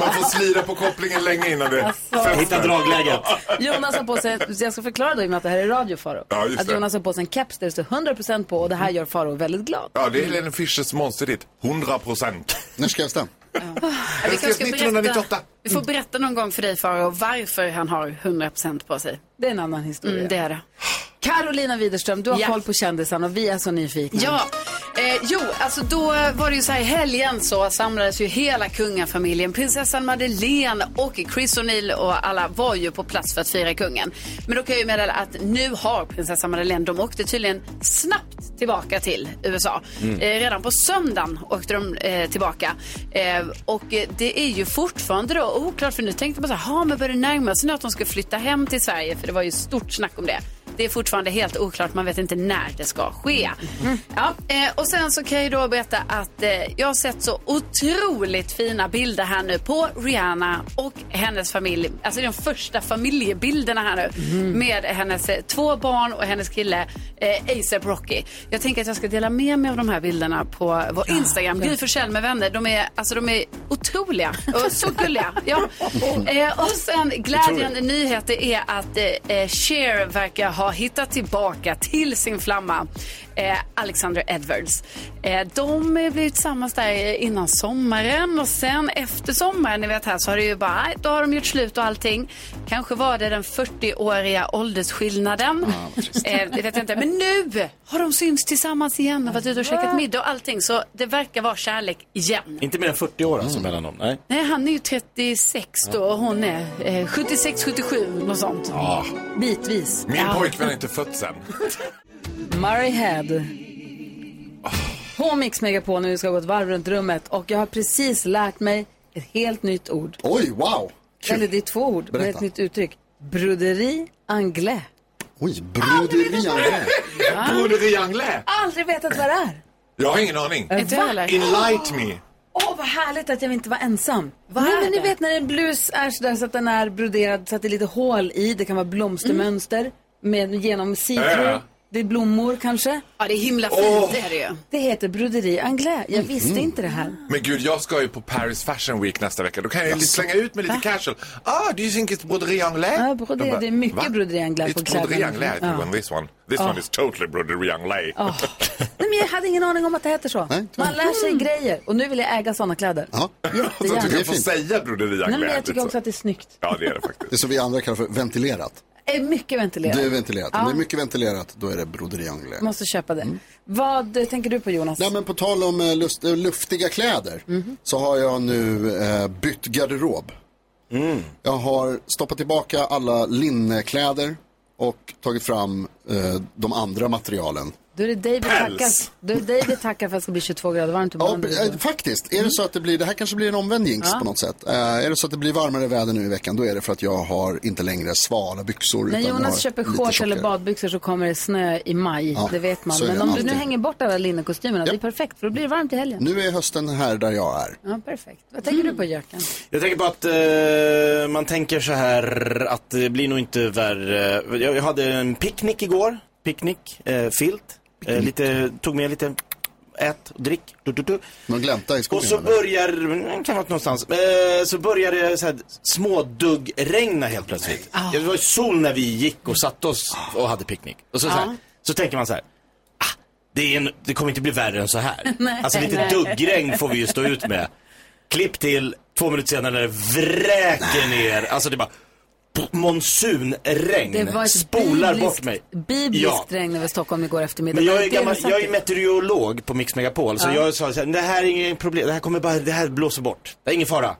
Speaker 10: Man får slira på kopplingen länge innan det
Speaker 3: Hitta dragläget.
Speaker 1: Jonas har på sig, jag ska förklara då i och med att det här är radio Faro.
Speaker 10: Ja, just
Speaker 1: att
Speaker 10: det.
Speaker 1: Jonas har på sig en keps där det står 100% på och det här gör Faro väldigt glad.
Speaker 10: Ja, det är Helene Fischers monsterhit. 100 procent.
Speaker 2: När skrevs den?
Speaker 4: Ja, vi, kanske ska
Speaker 10: 1998.
Speaker 4: berätta, vi får berätta någon gång för dig Faro varför han har 100% på sig.
Speaker 1: Det är en annan historia.
Speaker 4: Mm, det är det.
Speaker 1: Carolina Widerström, du har
Speaker 4: Ja.
Speaker 1: koll på kändisarna och vi är så nyfikna.
Speaker 4: Ja, eh, jo, alltså då var det ju så här i helgen så samlades ju hela kungafamiljen. Prinsessan Madeleine och Chris O'Neill och alla var ju på plats för att fira kungen. Men då kan jag ju meddela att nu har prinsessan Madeleine, de åkte tydligen snabbt tillbaka till USA. Eh, redan på söndagen åkte de eh, tillbaka. Eh, och eh, det är ju fortfarande då oklart, för nu tänkte man så här, "Ha, men börjar det närma sig nu att de ska flytta hem till Sverige? För det var ju stort snack om det. Det är fortfarande helt oklart. Man vet inte när det ska ske. Ja, eh, och sen så kan jag ju då berätta att eh, jag har sett så otroligt fina bilder här nu på Rihanna och hennes familj. Alltså de första familjebilderna här nu med hennes eh, två barn och hennes kille eh, ASAP Rocky. Jag tänker att jag ska dela med mig av de här bilderna på vår Instagram. Gry Forssell med vänner. De är, alltså, de är otroliga och så gulliga. Ja. Eh, och sen glädjande nyheter är att eh, eh, Cher verkar ha hittat tillbaka till sin flamma. Eh, Alexander Edwards. Eh, de eh, blev tillsammans där eh, innan sommaren och sen efter sommaren, ni vet här, så har det ju bara, nej, då har de gjort slut och allting. Kanske var det den 40-åriga åldersskillnaden.
Speaker 10: Ah,
Speaker 4: eh, det vet jag inte. Men nu har de synts tillsammans igen och varit ute och
Speaker 10: Ah.
Speaker 4: käkat middag och allting. Så det verkar vara kärlek igen.
Speaker 3: Inte mer än 40 år alltså mellan dem? Nej.
Speaker 4: Nej, han är ju 36 då och hon är eh, 76, 77, något sånt.
Speaker 10: Ja.
Speaker 1: Bitvis.
Speaker 10: Min pojkvän är inte född sen.
Speaker 1: Murray Head. På Mix Megapol när vi ska gå ett varv runt rummet och jag har precis lärt mig ett helt nytt ord.
Speaker 2: Oj, wow.
Speaker 1: Eller det är två ord, men
Speaker 2: Berätta.
Speaker 1: ett nytt uttryck. Broderi anglais.
Speaker 2: Oj, broderi anglais.
Speaker 10: Broderi Anglais.
Speaker 1: Aldrig vetat vad det är.
Speaker 10: Jag har ingen aning.
Speaker 4: Inte jag heller.
Speaker 10: Enlight me.
Speaker 1: Åh, vad härligt att jag inte var ensam. Vad
Speaker 4: är
Speaker 1: men ni
Speaker 4: det?
Speaker 1: vet när en blus är sådär så att den är broderad så att det är lite hål i. Det kan vara blomstermönster med genom sidor.
Speaker 10: Äh.
Speaker 1: Det är blommor kanske.
Speaker 4: Ja, det är himla fint,
Speaker 10: Åh.
Speaker 4: det är det ju.
Speaker 1: Det heter broderi anglais. Jag visste inte det här.
Speaker 10: Men gud, jag ska ju på Paris Fashion Week nästa vecka. Då kan jag ju slänga ut mig lite casual. Ah, do you think it's broderie anglais?
Speaker 1: Ja, broderie,
Speaker 10: De bara,
Speaker 1: det är mycket
Speaker 10: "Va?
Speaker 1: broderie anglais på
Speaker 10: It's broderie
Speaker 1: kläderna."
Speaker 10: anglais.
Speaker 1: Ja.
Speaker 10: Ja. This one, this one is totally broderie anglais.
Speaker 1: Åh. Ah. Nej, men jag hade ingen aning om att det heter så.
Speaker 2: Nej, inte
Speaker 1: Man lär sig grejer och nu vill jag äga sådana kläder.
Speaker 2: Ja.
Speaker 10: Så
Speaker 1: Jättegärna.
Speaker 10: du
Speaker 2: Det är
Speaker 10: kan få
Speaker 2: fint.
Speaker 10: säga broderie anglais.
Speaker 1: Nej, men jag tycker
Speaker 10: lite
Speaker 1: också
Speaker 10: så.
Speaker 1: att det är snyggt.
Speaker 10: Ja, det är det faktiskt.
Speaker 2: Det är som vi andra kallar för ventilerat.
Speaker 1: Det är mycket ventilerat.
Speaker 2: Det är ventilerat. Om det är mycket ventilerat, då är det broderi anglais.
Speaker 1: Måste köpa det.
Speaker 2: Mm.
Speaker 1: Vad eh, tänker du på Jonas?
Speaker 2: Nej, men på tal om eh, lust, eh, luftiga kläder så har jag nu eh, bytt garderob.
Speaker 1: Mm.
Speaker 2: Jag har stoppat tillbaka alla linnekläder och tagit fram eh, de andra materialen.
Speaker 1: Då är det dig vi tackar,
Speaker 10: Päls.
Speaker 1: då är det dig vi tackar för att det ska bli 22 grader varmt
Speaker 2: Ja,
Speaker 1: imorgon.
Speaker 2: b- eh, faktiskt. Är det
Speaker 1: Mm.
Speaker 2: så att det blir, det här kanske blir en omvänd jinx på något sätt. Eh, är det så att det blir varmare väder nu i veckan, då är det för att jag har inte längre svala byxor.
Speaker 1: När
Speaker 2: utan jag har
Speaker 1: Jonas köper
Speaker 2: lite
Speaker 1: shorts eller
Speaker 2: tjockare.
Speaker 1: badbyxor så kommer det snö i maj,
Speaker 2: Ja,
Speaker 1: det vet man.
Speaker 2: så är
Speaker 1: Men
Speaker 2: det
Speaker 1: om du
Speaker 2: alltid. Mm.
Speaker 1: nu hänger bort alla linnekostymerna, det är perfekt för då blir det varmt i helgen.
Speaker 2: Nu är hösten här där jag är.
Speaker 1: Ja, perfekt. Vad tänker du på Jöken?
Speaker 3: Jag tänker på att eh, man tänker så här att det blir nog inte värre. Jag, jag hade en picknick igår. Picknick, eh, filt. Eh, lite, tog med lite ät och drick. Du, du, du.
Speaker 2: Någon glänta i skogen?
Speaker 3: Och så
Speaker 2: eller?
Speaker 3: börjar, mm, kan vara någonstans, eh, så börjar det så här småduggregna helt plötsligt.
Speaker 1: Ah.
Speaker 3: Det var ju sol när vi gick och satte oss och hade picknick. Och så, så, här, så tänker man så här, ah, det, är en, det kommer inte bli värre än så här. alltså lite duggregn får vi ju stå ut med. Klipp till, två minuter senare när det vräker ner, alltså det är bara pff, monsunregn.
Speaker 1: Det var ett
Speaker 3: spolar
Speaker 1: bibliskt,
Speaker 3: bort mig.
Speaker 1: bibliskt regn över Stockholm igår eftermiddag.
Speaker 3: Men jag är,
Speaker 1: Det har
Speaker 3: gammal,
Speaker 1: sagt
Speaker 3: jag är
Speaker 1: det.
Speaker 3: meteorolog på Mix Megapol, så jag sa så här, det här är inget problem, det här kommer bara, det här blåser bort. Det är ingen fara.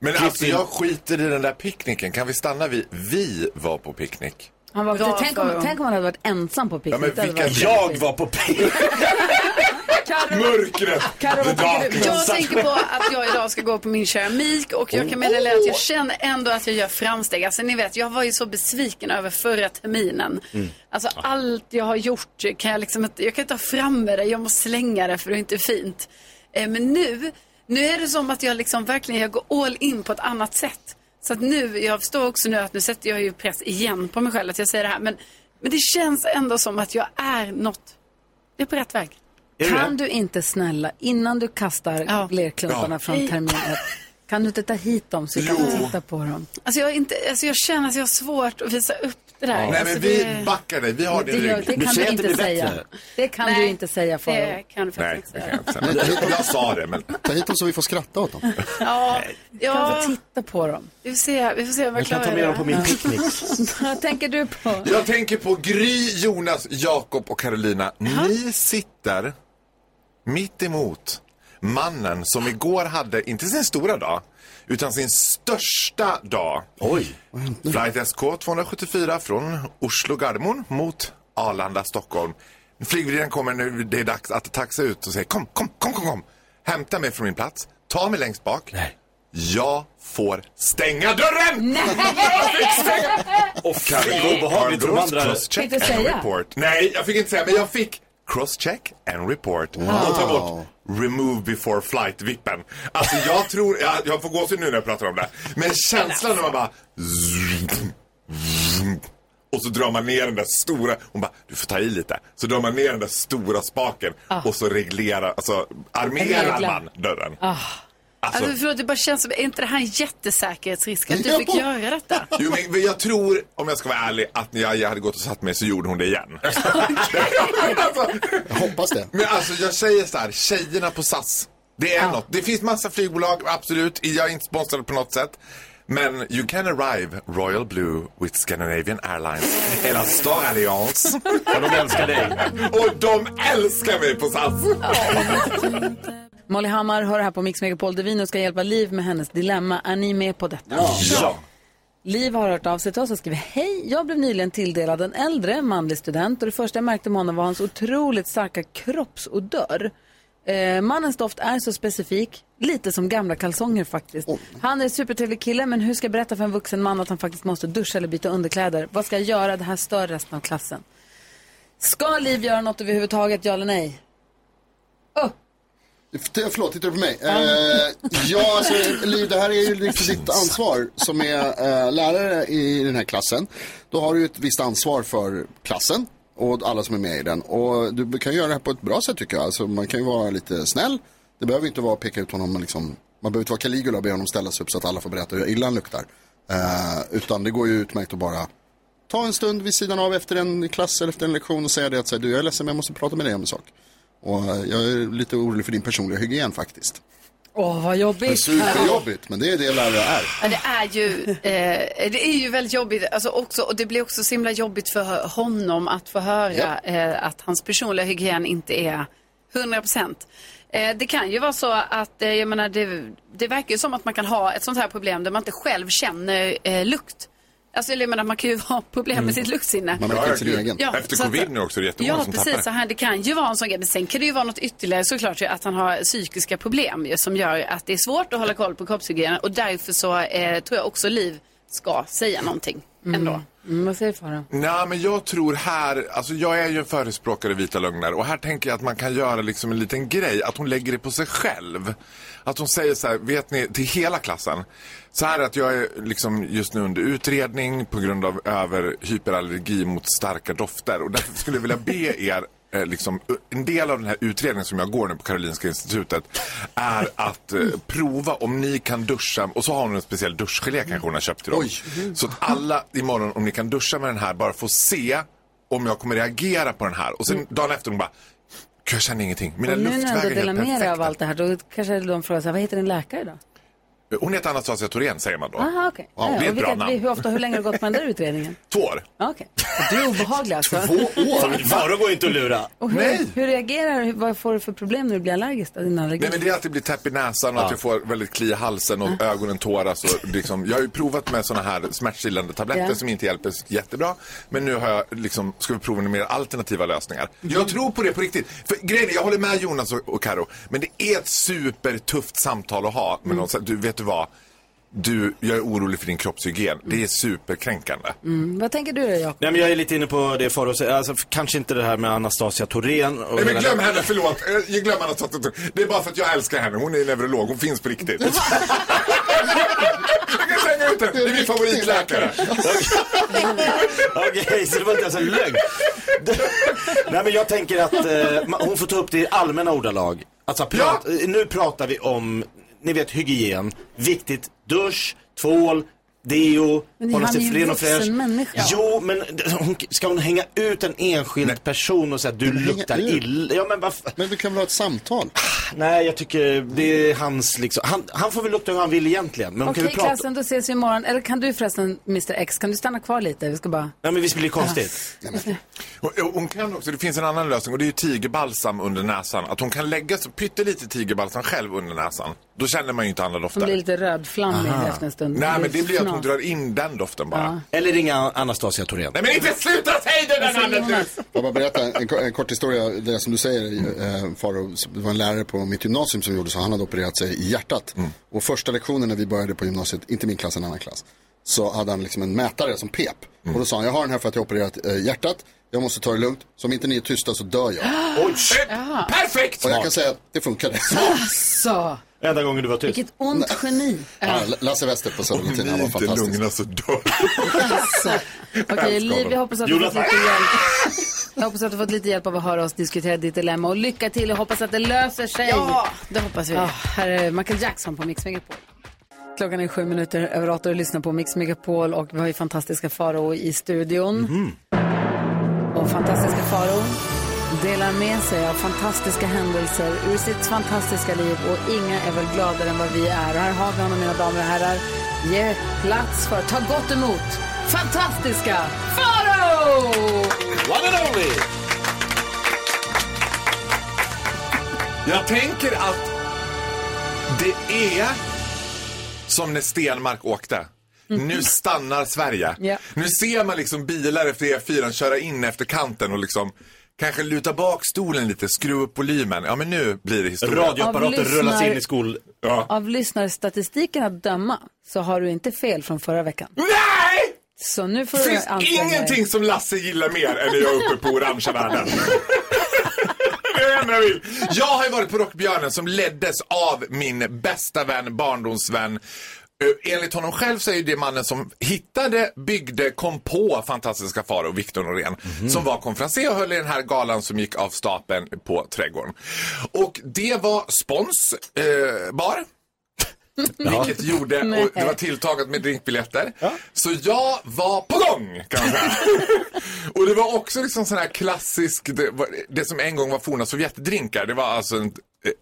Speaker 10: Men
Speaker 3: Klipp
Speaker 10: alltså,
Speaker 3: in.
Speaker 10: jag skiter i den där picknicken. Kan vi stanna vid vi var på picknick?
Speaker 1: Han var,
Speaker 4: Bra
Speaker 1: tänk, om,
Speaker 4: för dem.
Speaker 1: tänk om han hade varit ensam på
Speaker 10: Ja,
Speaker 1: picknick.
Speaker 10: men
Speaker 1: Det hade
Speaker 10: vilka
Speaker 1: varit-
Speaker 3: Jag var på picknick.
Speaker 1: Karo,
Speaker 10: Mörkret!
Speaker 1: Karo,
Speaker 10: The
Speaker 1: vad tänker du?
Speaker 10: darkness.
Speaker 4: Jag tänker på att jag idag ska gå på min keramik och jag kan meddela er att jag känner ändå att jag gör framsteg. Alltså ni vet, jag var ju så besviken över förra terminen. Alltså allt jag har gjort kan jag liksom inte, jag kan inte ha framme det, jag måste slänga det för det är inte fint. Eh, Men nu, nu är det som att jag liksom verkligen, jag går all in på ett annat sätt. Så att nu, jag förstår också nu att nu sätter jag ju press igen på mig själv att jag säger det här. Men, men det känns ändå som att jag är något, jag är på rätt väg.
Speaker 3: Är du
Speaker 1: Kan
Speaker 3: det?
Speaker 1: du inte snälla, innan du kastar
Speaker 4: Ja.
Speaker 1: lerklumparna
Speaker 10: Ja.
Speaker 1: från termin ett, kan du inte ta hit dem så vi kan
Speaker 10: Jo.
Speaker 1: titta på dem?
Speaker 4: Alltså jag, är inte, alltså jag känner att jag har svårt att visa upp det där.
Speaker 10: Nej,
Speaker 4: alltså
Speaker 10: men
Speaker 4: det-
Speaker 10: vi backar dig. Vi har
Speaker 1: Det,
Speaker 10: din
Speaker 1: gör, det
Speaker 10: rygg.
Speaker 1: kan
Speaker 3: säger
Speaker 1: du
Speaker 3: att det
Speaker 1: inte
Speaker 3: blir
Speaker 1: säga.
Speaker 3: bättre.
Speaker 1: Det kan du
Speaker 4: Nej,
Speaker 1: inte säga för
Speaker 4: Det kan du faktiskt
Speaker 10: Nej,
Speaker 4: inte
Speaker 10: det kan
Speaker 4: säga.
Speaker 10: jag inte säga. Jag sa det, men...
Speaker 2: Ta hit dem så vi får skratta åt dem.
Speaker 4: Ja,
Speaker 1: Ja.
Speaker 4: ja,
Speaker 1: Titta på dem.
Speaker 4: vi får se, vi får se om jag
Speaker 3: Jag kan
Speaker 4: klarar
Speaker 3: ta med dem på
Speaker 4: det.
Speaker 3: min picknick.
Speaker 1: Vad tänker du på?
Speaker 10: Jag tänker på Gry, Jonas, Jakob och Carolina. Ni sitter mitt emot mannen som igår hade, inte sin stora dag, utan sin största dag. Oj! Flight SK 274 från Oslo Gardermoen mot Arlanda, Stockholm. Flygvärdinnan kommer nu, det är dags att taxa ut och säger kom, kom, kom, kom, kom. Hämta mig från min plats, ta mig längst bak.
Speaker 3: Nej.
Speaker 10: Jag får stänga dörren! Och
Speaker 3: fy, vad obehagligt för de andra.
Speaker 10: crosscheck
Speaker 1: Fick du
Speaker 10: and
Speaker 1: säga?
Speaker 10: report. Nej, jag fick inte säga, men jag fick crosscheck and report. Och ta bort remove before flight-vippen. Alltså jag tror, jag, jag får gåshud nu när jag pratar om det. Men känslan när man bara... Och så drar man ner den där stora, hon bara, du får ta i lite. Så drar man ner den där stora spaken och så reglerar, alltså armerar
Speaker 1: Reglar.
Speaker 10: man dörren. Alltså,
Speaker 4: Alltså, förlåt, det bara känns som, är inte det här en jättesäkerhetsrisk att du
Speaker 2: Ja.
Speaker 4: fick göra detta?
Speaker 10: Jo, men men jag tror, om jag ska vara ärlig, att när jag hade gått och satt mig så gjorde hon det igen. alltså,
Speaker 2: Jag hoppas det.
Speaker 10: men alltså jag säger så här, tjejerna på SAS. Det är något. Det finns massa flygbolag, absolut. Jag är inte sponsrad på något sätt. Men you can arrive Royal Blue with Scandinavian Airlines eller Star Alliance.
Speaker 3: Ja, de älskar dig.
Speaker 10: och de älskar mig på SAS.
Speaker 1: Molly Hammar hör här på Mix Megapol där vi nu ska hjälpa Liv med hennes dilemma. Är ni med på detta?
Speaker 3: Ja.
Speaker 1: Liv har hört av sig till oss och skriver Hej, jag blev nyligen tilldelad en äldre manlig student och det första jag märkte med honom var hans otroligt starka kroppsodör. Eh, mannens doft är så specifik, lite som gamla kalsonger faktiskt. Han är en supertrevlig kille men hur ska jag berätta för en vuxen man att han faktiskt måste duscha eller byta underkläder? Vad ska jag göra? Det här stör resten av klassen. Ska Liv göra något överhuvudtaget, ja eller nej?
Speaker 2: F- Förlåt, tittar du på mig? Eh, ja, alltså, Liv, det här är ju liksom ditt ansvar som är eh, lärare i den här klassen. Då har du ju ett visst ansvar för klassen och alla som är med i den. Och du kan göra det här på ett bra sätt tycker jag. Alltså, man kan ju vara lite snäll. Det behöver inte vara att peka ut honom, men liksom, man behöver inte vara Caligula och be honom ställa sig upp så att alla får berätta hur illa han luktar. Eh, utan det går ju utmärkt att bara ta en stund vid sidan av efter en klass eller efter en lektion och säga det att så här, du, jag är ledsen men jag måste prata med dig om en sak. Och eh, jag är lite orolig för din personliga hygien faktiskt.
Speaker 1: Åh, vad
Speaker 2: Det är
Speaker 1: jobbigt.
Speaker 2: superjobbigt, men det är det lärare är.
Speaker 4: Ja, det är ju, eh, det är ju väldigt jobbigt alltså också, och det blir också så himla jobbigt för honom att få höra eh, att hans personliga hygien inte är 100 procent. Eh, det kan ju vara så att, eh, jag menar, det, det verkar ju som att man kan ha ett sånt här problem där man inte själv känner eh, lukt. Alltså, jag menar, man kan ju ha problem med sitt luktsinne.
Speaker 2: Man märker inte sin egen.
Speaker 4: Ja,
Speaker 10: Efter
Speaker 4: så att-
Speaker 10: covid nu också, det är jättemånga
Speaker 4: Ja,
Speaker 10: som
Speaker 4: precis. Så
Speaker 10: tappar.
Speaker 4: här, det kan ju vara en sån grej. Men Sen kan det ju vara något ytterligare såklart ju, att han har psykiska problem ju, som gör att det är svårt att hålla koll på kroppshygienen och därför så eh, tror jag också Liv ska säga någonting ändå.
Speaker 1: Mm, vad säger Farao?
Speaker 10: Nej, men jag tror här, alltså jag är ju en förespråkare i vita lögner och här tänker jag att man kan göra liksom en liten grej, att hon lägger det på sig själv. Att hon säger så här, vet ni, till hela klassen. Så här att jag är liksom just nu under utredning på grund av över hyperallergi mot starka dofter och därför skulle jag vilja be er eh, liksom, u- en del av den här utredningen som jag går nu på Karolinska institutet är att eh, prova om ni kan duscha, och så har hon en speciell duschgelé kanske hon har köpt till dem. Så att alla imorgon, om ni kan duscha med den här, bara får se om jag kommer reagera på den här. Och sen dagen efter hon bara, "Gud, jag känner ingenting. Mina
Speaker 1: Mm. Och nu när jag
Speaker 10: luftvägar
Speaker 1: ändå
Speaker 10: är
Speaker 1: delar
Speaker 10: helt
Speaker 1: med dig av
Speaker 10: perfekta.
Speaker 1: allt det här, då kanske de frågar så här, vad heter din läkare då?
Speaker 10: Hon heter Anastasia Thorén säger man då.
Speaker 1: Aha, okej.
Speaker 10: Wow, det är
Speaker 1: och
Speaker 10: ett bra
Speaker 1: vilka-
Speaker 10: namn.
Speaker 1: Hur ofta, hur länge har du gått på den där utredningen?
Speaker 10: Två år.
Speaker 1: Ja, Okej. Du är obehaglig alltså.
Speaker 3: Farao går inte att lura.
Speaker 1: Och hur,
Speaker 10: Nej.
Speaker 1: hur reagerar du? Vad får du för problem när du blir allergisk? Då, din allergi?
Speaker 10: Nej men det är att det blir täpp i näsan och att jag får väldigt kli i halsen och ögonen tåras. Och liksom, jag har ju provat med såna här smärtstillande tabletter
Speaker 1: Ja.
Speaker 10: som inte hjälper så jättebra. Men nu har jag liksom, ska vi prova med mer alternativa lösningar. Jag tror på det på riktigt. För grejen är, jag håller med Jonas och, och Karo Men det är ett supertufft samtal att ha med någon. Så här, Du, vet du vad? Du, jag är orolig för din kroppshygien. Det är superkränkande.
Speaker 1: Mm, vad tänker du då, Jakob?
Speaker 3: Nej, men jag är lite inne på det Farao säger. Alltså, kanske inte det här med Anastasia Thorén. och
Speaker 10: Nej men
Speaker 3: hela
Speaker 10: glöm
Speaker 3: den-
Speaker 10: henne, förlåt. Eh, Jag glömmer henne. så att- Det är bara för att jag älskar henne. Hon är neurolog, hon finns på riktigt. jag kan slänga ut henne. Det är min favoritläkare.
Speaker 3: Okej, så det var inte ens en lögn. Nej, men jag tänker att eh, ma- hon får ta upp det i allmänna ordalag. Alltså, prat, eh, nu pratar vi om, ni vet, hygien. Viktigt. Dusch, tvål, deo,
Speaker 1: Men
Speaker 3: hålla
Speaker 1: han är
Speaker 3: sig
Speaker 1: ju
Speaker 3: fren och
Speaker 1: vuxen
Speaker 3: fräsch.
Speaker 1: människa.
Speaker 3: Jo, men d- hon, ska hon hänga ut en enskild person och säga du
Speaker 2: hänga
Speaker 3: luktar
Speaker 2: ut?
Speaker 3: illa? Ja, men varför?
Speaker 2: Men du kan väl ha ett samtal?
Speaker 3: Nej, jag tycker det är hans liksom. Han, han får väl lukta hur han vill egentligen. Men hon
Speaker 1: Okej
Speaker 3: kan ju prata.
Speaker 1: klassen, då ses vi imorgon. Eller kan du förresten, Mr X, kan du stanna kvar lite? Vi ska bara...
Speaker 3: Nej, men visst blir det konstigt?
Speaker 10: Och- och Hon kan också, det finns en annan lösning och det är ju tigerbalsam under näsan. Att hon kan lägga så pyttelite tigerbalsam själv under näsan. Då känner man ju inte alla
Speaker 1: Hon blir
Speaker 10: dofter.
Speaker 1: lite rödflammig efter en stund.
Speaker 10: Nej men det blir att som drar in den doften bara.
Speaker 3: Eller ringa Anastasia Thorén.
Speaker 10: Nej men inte sluta säga det där namnet nu!
Speaker 2: Jag bara berätta en, ko- en kort historia. Det som du säger, eh, Faro, det var en lärare på mitt gymnasium som gjorde så. Han hade opererat sig i hjärtat. Och första lektionen när vi började på gymnasiet, inte min klass, en annan klass, så hade han liksom en mätare som pep. Och då sa han, jag har den här för att jag har opererat eh, hjärtat. Jag måste ta det lugnt. Så om inte ni är tysta så dör jag.
Speaker 10: Oj, shit. Perfekt!
Speaker 2: Och jag kan säga att det funkade.
Speaker 1: Så,
Speaker 3: Enda gången du var tyst.
Speaker 1: vilket ont geni.
Speaker 2: Ja, Lasse Wester på Södra Latin, han var fantastisk.
Speaker 10: så dör
Speaker 1: Alltså. Okej, Liv, jag hoppas att du
Speaker 3: Jonas
Speaker 1: fått lite hjälp. Jag hoppas att du fått lite hjälp av att höra oss diskutera ditt dilemma. Och lycka till och hoppas att det löser sig.
Speaker 4: Ja, det hoppas vi.
Speaker 1: Ja, Alltså, här är Michael Jackson på Mix Megapol. Klockan är sju minuter över åtta och du lyssnar på Mix Megapol och vi har ju fantastiska Faro i studion.
Speaker 10: Mhm.
Speaker 1: Och fantastiska Faro delar med sig av fantastiska händelser ur sitt fantastiska liv och inga är väl gladare än vad vi är. Och här har vi honom mina damer och herrar. Ge plats för, ta gott emot, fantastiska Faro!
Speaker 10: One and only! Jag tänker att det är som när Stenmark åkte. Nu stannar Sverige.
Speaker 1: Ja.
Speaker 10: Nu ser man liksom bilar efter E4 köra in efter kanten och liksom kanske luta bak stolen lite, skruva upp volymen. Ja men nu blir det historia.
Speaker 3: Radioapparater
Speaker 1: Avlyssnar-
Speaker 3: rullas in i skol...
Speaker 10: Ja.
Speaker 1: Av lyssnarstatistiken att döma så har du inte fel från förra veckan.
Speaker 10: Nej!
Speaker 1: Så nu får
Speaker 10: Det
Speaker 1: du
Speaker 10: finns
Speaker 1: anstränga dig.
Speaker 10: ingenting som Lasse gillar mer än när jag är uppe på orangea världen. Det är det enda jag vill. Jag har ju varit på Rockbjörnen som leddes av min bästa vän, barndomsvän. Eh, Enligt honom själv så är ju det mannen som hittade, byggde, kom på fantastiska Faro, Viktor Norén. Som var konferencier och höll i den här galan som gick av stapeln på Trädgården. Och det var spons, eh, bar. Vilket gjorde, och det var tilltaget med drinkbiljetter. Så jag var på gång kan man säga. och det var också liksom sån här klassisk, det, var, det som en gång var forna Sovjetdrinkar. Det var alltså en, eh,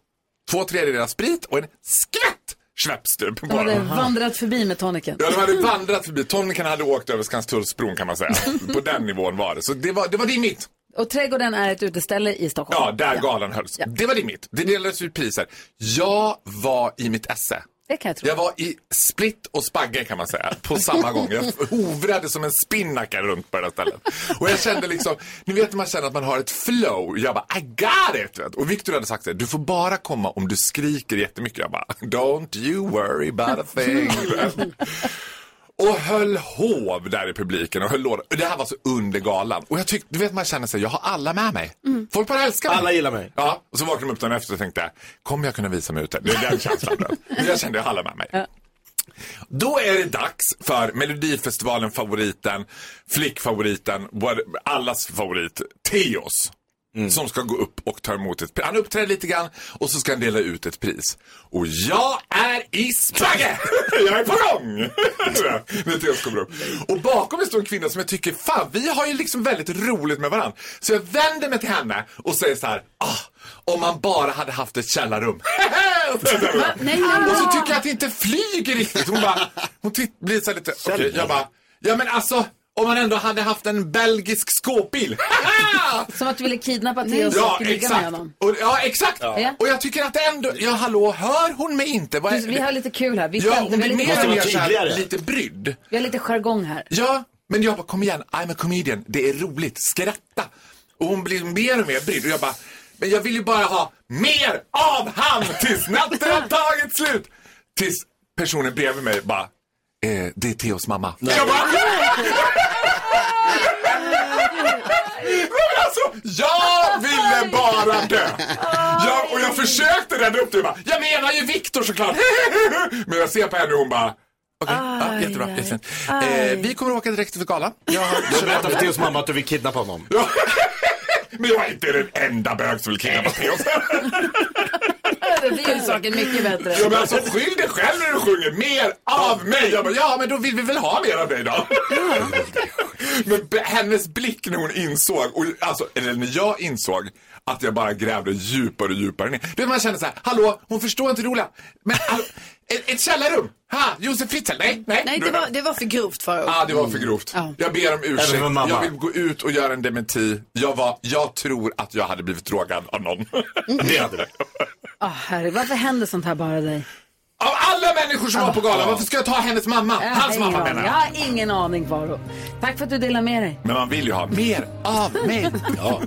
Speaker 10: två tredjedelar sprit och en skvätt Schweppes typ.
Speaker 1: De
Speaker 10: bara.
Speaker 1: hade vandrat förbi med toniken.
Speaker 10: Ja, de hade vandrat förbi. Toniken hade åkt över Skanstullsbron kan man säga. På den nivån var det. Så det var, det var dimmigt.
Speaker 1: Och trädgården är ett uteställe i Stockholm.
Speaker 10: Ja, där galan hölls. Det var dimmigt. Det delades ut priser. Jag var i mitt esse.
Speaker 1: Det kan jag tro.
Speaker 10: Jag var i split och spagge kan man säga, på samma gång. Jag hovrade som en spinnaker runt på det här stället. Och jag kände liksom, ni vet när man känner att man har ett flow. Jag bara, I got it! Vet. Och Victor hade sagt det, du får bara komma om du skriker jättemycket. Jag bara, don't you worry about a thing. Och höll hov där i publiken och höll låda. Och Det här var så under galan. Och jag tyckte, du vet man känner sig, jag har alla med mig. Folk bara älskar mig.
Speaker 3: Alla gillar mig.
Speaker 10: Ja, och så vaknade de upp dagen efter och tänkte, kommer jag kunna visa mig ute? Det är den känslan. då. Men jag kände, jag har alla med mig. Då är det dags för Melodifestivalen-favoriten, flickfavoriten, what- allas favorit, Teos. Som ska gå upp och ta emot ett pris. Han uppträder lite grann och så ska han dela ut ett pris. Och jag är i spagge! jag är på gång! När Teos kommer upp. Och bakom mig står en kvinna som jag tycker, fan vi har ju liksom väldigt roligt med varandra. Så jag vänder mig till henne och säger så här, ah, om man bara hade haft ett källarrum. Och så-
Speaker 1: Nej, nej,
Speaker 10: och så tycker jag att det inte flyger riktigt. Hon bara, hon titt, blir så här lite, okej, jag bara, ja men alltså om man ändå hade haft en belgisk skåpbil.
Speaker 1: Som att du ville kidnappa Theo och
Speaker 10: ja,
Speaker 1: skulle ligga med
Speaker 10: exakt.
Speaker 1: honom.
Speaker 10: Och, ja, exakt.
Speaker 1: Ja.
Speaker 10: Och jag tycker att ändå, ja hallå, hör hon mig inte? Vad är-
Speaker 1: Du, vi har lite kul här. Vi,
Speaker 10: ja,
Speaker 1: skämtar
Speaker 10: hon
Speaker 1: med
Speaker 10: blir
Speaker 1: lite,
Speaker 10: mer och
Speaker 3: vara
Speaker 10: mer så här,
Speaker 3: tydligare.
Speaker 10: lite brydd.
Speaker 1: vi har lite jargong här.
Speaker 10: Ja, men jag bara kom igen, I'm a comedian, det är roligt, skratta. Och hon blir mer och mer brydd och jag bara, men jag vill ju bara ha mer av han tills natten har tagit slut. Tills personen bredvid mig bara, eh, det är Theos mamma. Jag bara, Men alltså, jag ville bara dö. Jag, och jag försökte rädda upp det. Jag bara, Jag menar ju Viktor såklart. Men jag ser på henne och hon bara. Okej, ja, jättebra. jättefint. Eh, vi kommer åka direkt till galan. Jag har-
Speaker 3: Så berätta för Theos mamma att du vill kidnappa honom.
Speaker 10: Ja. Men jag är inte den enda bög som vill kidnappa Theos.
Speaker 1: Det är ju saken mycket bättre.
Speaker 10: Ja, men alltså, skyll dig själv när du sjunger mer av mig. Jag bara, ja, men då vill vi väl ha mer av dig då. Men b- hennes blick när hon insåg, och, alltså, eller när jag insåg att jag bara grävde djupare och djupare ner. Du vet, man känner så här, hallå, hon förstår inte det roliga. Men hallå, ett, ett källarrum, ha, Josef Fritzl, nej, nej.
Speaker 4: Nej,
Speaker 10: Du
Speaker 4: det
Speaker 10: vet.
Speaker 4: var, det var för grovt Farao.
Speaker 10: Ah, det var för grovt. Jag ber om ursäkt.
Speaker 3: Även för mamma.
Speaker 10: Jag vill gå ut och göra en dementi. Jag, var, jag tror att jag hade blivit drogad av någon.
Speaker 3: Mm. Det hade du.
Speaker 1: Ah, herre, varför händer sånt här bara dig?
Speaker 10: Av alla människor som var på galan. Varför ska jag ta hennes mamma?
Speaker 1: Jag har
Speaker 10: Hans
Speaker 1: ingen
Speaker 10: mamma
Speaker 1: aning.
Speaker 10: menar
Speaker 1: Jag
Speaker 10: jag.
Speaker 1: har ingen aning, Faro. Tack för att du delar med dig.
Speaker 10: Men man vill ju ha mer av mig. Ja.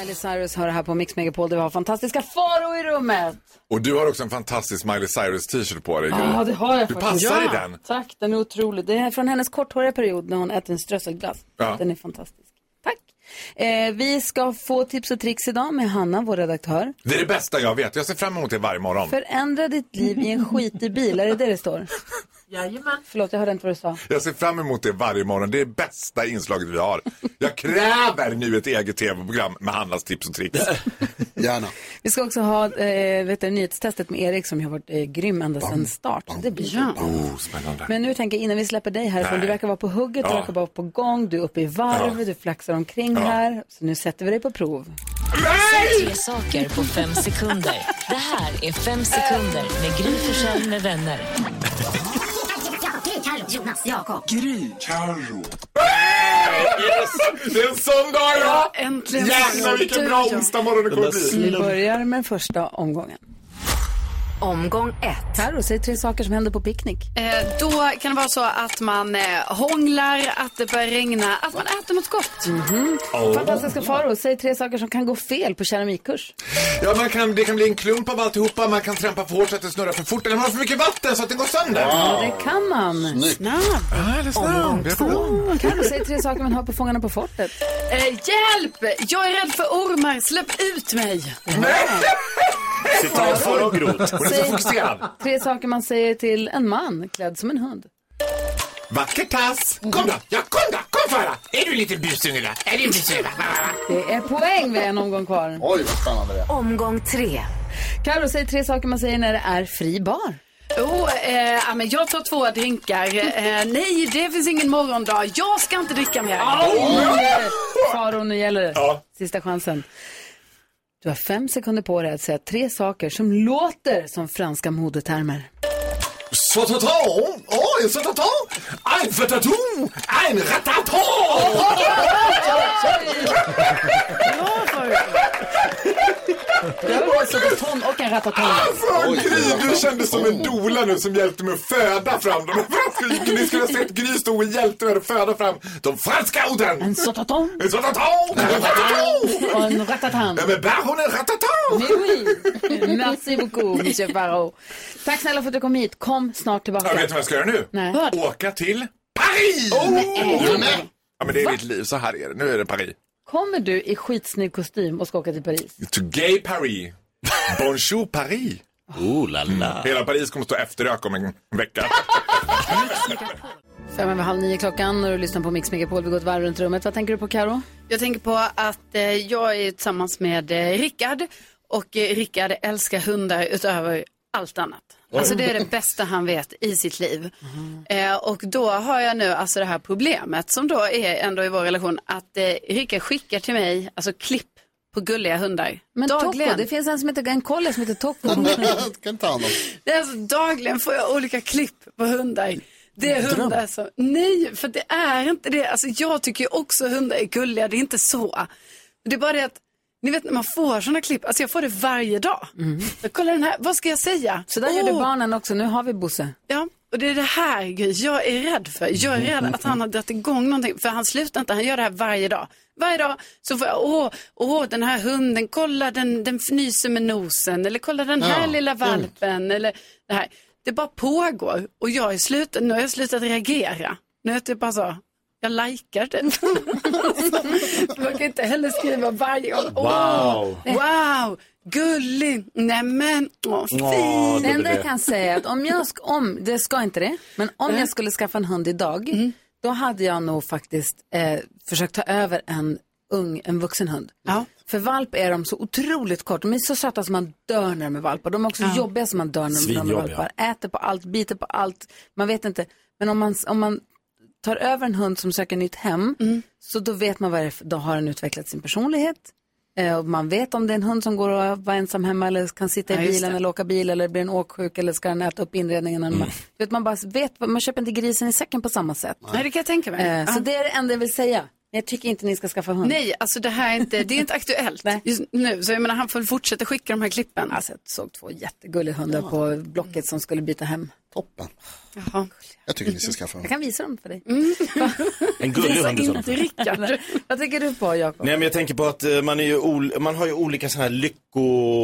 Speaker 1: Miley Cyrus hör det här på Mix Megapol där vi har fantastiska Faro i rummet.
Speaker 10: Och du har också en fantastisk Miley Cyrus t-shirt på dig. Gry.
Speaker 1: Ja, det har jag
Speaker 10: Du
Speaker 1: faktiskt.
Speaker 10: passar
Speaker 1: ja.
Speaker 10: i den.
Speaker 1: Tack, den är otrolig. Det är från hennes korthåriga period när hon äter en strösselglass.
Speaker 10: Ja.
Speaker 1: Den är fantastisk. Tack. Eh, vi ska få tips och tricks idag med Hanna, vår redaktör.
Speaker 10: Det är det bästa jag vet. Jag ser fram emot det varje morgon.
Speaker 1: Förändra ditt liv i en skitig bil, är det det det står?
Speaker 7: Jajamän.
Speaker 1: Förlåt, jag hörde inte vad du sa.
Speaker 10: Jag ser fram emot det varje morgon. Det är det bästa inslaget vi har. Jag kräver nu ett eget tv-program med Hannas tips och tricks.
Speaker 2: Gärna.
Speaker 1: Vi ska också ha eh, vet du, nyhetstestet med Erik som ju har varit eh, grym ända sedan start. Det blir ja.
Speaker 10: Oh, spännande.
Speaker 1: Men nu tänker jag innan vi släpper dig härifrån,
Speaker 10: Nej.
Speaker 1: du verkar vara på hugget, du
Speaker 10: Ja.
Speaker 1: verkar vara på gång, du är uppe i varv, du flaxar omkring här. Så nu sätter vi dig på prov.
Speaker 11: Tre saker på fem sekunder. Det här är Fem sekunder med Gry Forssell med vänner.
Speaker 8: Gry, Carro, Jonas, Jakob.
Speaker 6: Gry, Carro.
Speaker 10: Yes! Det är en sån dag ja!
Speaker 4: Äntligen.
Speaker 10: Jävlar vilken bra onsdag morgon det kommer
Speaker 1: Vi
Speaker 10: bli.
Speaker 1: börjar med första omgången.
Speaker 11: Omgång ett.
Speaker 1: Carro, säg tre saker som händer på picknick.
Speaker 4: Eh, Då kan det vara så att man eh, hånglar, att det börjar regna, att man äter något gott.
Speaker 1: Mm. Fantastiska Faro, säg tre saker som kan gå fel på keramikkurs.
Speaker 10: Ja, man kan, det kan bli en klump av alltihopa, man kan trampa för hårt så att det snurrar för fort, eller man har för mycket vatten så att det går sönder.
Speaker 1: Ja, det kan man. Snabb.
Speaker 10: Ja, det är sant. Det är bra.
Speaker 1: Carro, säg tre saker man hör på Fångarna på fortet.
Speaker 4: Eh, Hjälp! Jag är rädd för ormar, släpp ut mig.
Speaker 3: Citat för och grot.
Speaker 10: Hon är så fokuserad.
Speaker 1: Tre saker man säger till en man klädd som en hund.
Speaker 10: Vacker tass. Kom då, ja kom då, kom Farah. Är du lite busunge då? Är du en busunge?
Speaker 1: Det är poäng, vi har en omgång kvar.
Speaker 2: Oj, vad spännande det är.
Speaker 11: Omgång tre.
Speaker 1: Carro, säg tre saker man säger när det är fri bar.
Speaker 4: Oh, eh, ja, men jag tar två drinkar. Eh, nej, det finns ingen morgondag. Jag ska inte dricka mer.
Speaker 1: Faro, nu gäller det.
Speaker 10: Ja.
Speaker 1: Sista chansen. Du har fem sekunder på dig att säga tre saker som låter som franska modetermer.
Speaker 10: Sototon, oj sototon. Ein fetaton, ein rataton.
Speaker 1: Du har också ett ton och en rataton.
Speaker 10: Fan Gry, Alltså, du kändes som en dola nu som hjälpte mig att föda fram de franska Ni skulle ha sett Gry stå och hjälpte mig att föda fram de franska orden.
Speaker 1: En sotaton
Speaker 10: En sototon, en rataton.
Speaker 1: och en ratatan.
Speaker 10: Ja, men bär hon en rataton?
Speaker 1: Oui, oui. Merci beaucoup, monsieur Faro. Tack snälla för att du kom hit. Kom snart
Speaker 10: Jag vet
Speaker 1: tillbaka.
Speaker 10: du vad jag ska göra nu?
Speaker 1: Nej.
Speaker 10: Åka till Paris! Ja, men det är ditt liv. Så här är det. Nu är det Paris.
Speaker 1: Kommer du i skitsnygg kostym och ska åka till Paris?
Speaker 10: To gay Paris. Bonjour Paris.
Speaker 3: Oh la la.
Speaker 10: Hela Paris kommer stå efterrök om en vecka.
Speaker 1: Fem över halv nio klockan och du lyssnar på Mix Megapol. Vi går ett varv runt rummet. Vad tänker du på Karo?
Speaker 4: Jag tänker på att eh, jag är tillsammans med eh, Rickard och eh, Rickard älskar hundar utöver allt annat. Alltså det är det bästa han vet i sitt liv. Eh, och då har jag nu alltså det här problemet som då är ändå i vår relation att eh, Rickard skickar till mig alltså klipp på gulliga hundar.
Speaker 1: Men
Speaker 4: dagligen.
Speaker 1: Tocco, det finns en som heter en kolle som heter Tocco.
Speaker 2: kan ta hand om.
Speaker 4: Det är alltså, dagligen får jag olika klipp på hundar. Det är hundar som, nej, för det är inte det. Alltså, jag tycker ju också hundar är gulliga, det är inte så. Det är bara det att, ni vet när man får sådana klipp, alltså jag får det varje dag. Så, kolla den här, vad ska jag säga?
Speaker 1: Mm. Så där gör du
Speaker 4: Åh,
Speaker 1: barnen också. Nu har vi Bosse.
Speaker 4: Ja, och det är det här Gry, jag är rädd för. Jag är rädd att han har dragit igång någonting, för han slutar inte, han gör det här varje dag. Varje dag så får jag, åh, åh den här hunden, kolla den, den fnyser med nosen, eller kolla den här
Speaker 2: Ja,
Speaker 4: lilla valpen, eller det här. Det bara pågår och jag är slut, nu har jag slutat reagera. Nu är det typ bara så, jag likar det. Man kan inte heller skriva varje gång, åh,
Speaker 3: Wow.
Speaker 4: wow, gullig, nämen, åh,
Speaker 3: Ja,
Speaker 1: Det
Speaker 3: det
Speaker 1: enda
Speaker 3: blir
Speaker 1: jag
Speaker 3: det.
Speaker 1: kan säga är att om jag, sk- om, det ska inte det, men om jag skulle skaffa en hund idag,
Speaker 4: Mm.
Speaker 1: då hade jag nog faktiskt eh, försökt ta över en ung, en vuxen hund.
Speaker 4: Ja.
Speaker 1: För valp är de så otroligt kort, de är så söta som man dör när de är valpar. De är också jobbiga som man dör när de- när de är
Speaker 3: Svinjobbiga.
Speaker 1: valpar. Äter på allt, biter på allt, man vet inte. Men om man, om man tar över en hund som söker nytt hem,
Speaker 4: Mm.
Speaker 1: så då vet man vad det är, för- då har den utvecklat sin personlighet. Eh, och man vet om det är en hund som går och var ensam hemma eller kan sitta i
Speaker 4: Ja, just
Speaker 1: bilen
Speaker 4: det.
Speaker 1: eller åka bil eller blir en åksjuk eller ska den äta upp inredningen. eller Man, du vet, man, bara vet, man köper inte grisen i säcken på samma sätt.
Speaker 4: Nej, det kan jag tänka mig.
Speaker 1: Eh,
Speaker 4: Ja.
Speaker 1: Så det är det enda jag vill säga. Jag tycker inte ni ska skaffa hund.
Speaker 4: Nej, alltså det här är inte, det är inte aktuellt just nu. Så jag menar, han får fortsätta skicka de här klippen.
Speaker 1: Alltså, jag såg två jättegulliga hundar på Blocket som skulle byta hem.
Speaker 2: Toppen.
Speaker 4: Jaha.
Speaker 2: Jag tycker ni ska skaffa
Speaker 1: Jag
Speaker 2: hund.
Speaker 1: kan visa dem för dig.
Speaker 3: En gullig hund i så fall.
Speaker 4: Rickard.
Speaker 1: Vad tänker du på, Jakob?
Speaker 3: Nej men jag tänker på att eh, man, är ju ol- man har ju olika sådana här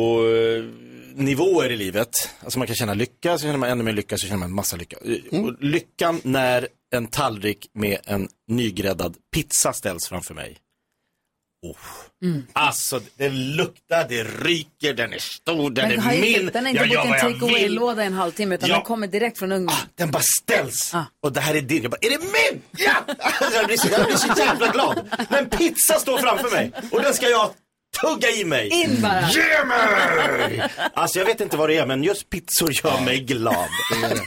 Speaker 3: lyckonivåer i livet. Alltså man kan känna lycka, så känner man ännu mer lycka, så känner man en massa lycka. Eh, Och lyckan när en tallrik med en nygräddad pizza ställs framför mig. Oh.
Speaker 1: Mm.
Speaker 3: Alltså den luktar, det ryker, den är stor, den
Speaker 1: Den, har
Speaker 3: är
Speaker 1: ju-
Speaker 3: mild.
Speaker 1: den har
Speaker 3: Jag
Speaker 1: inte
Speaker 3: gör
Speaker 1: bott i en
Speaker 3: vad jag vill.
Speaker 1: takeaway-låda i en halvtimme utan
Speaker 3: Ja. Ah,
Speaker 1: den kommer direkt från ugnen.
Speaker 3: Den bara ställs. Och det här är din. Jag bara, är det min? Ja! Alltså, jag, blir så, jag blir så jävla glad. Men pizza står framför mig och den ska jag tugga i mig.
Speaker 1: In bara.
Speaker 3: Ge mig! Alltså jag vet inte vad det är men just pizzor gör mig glad.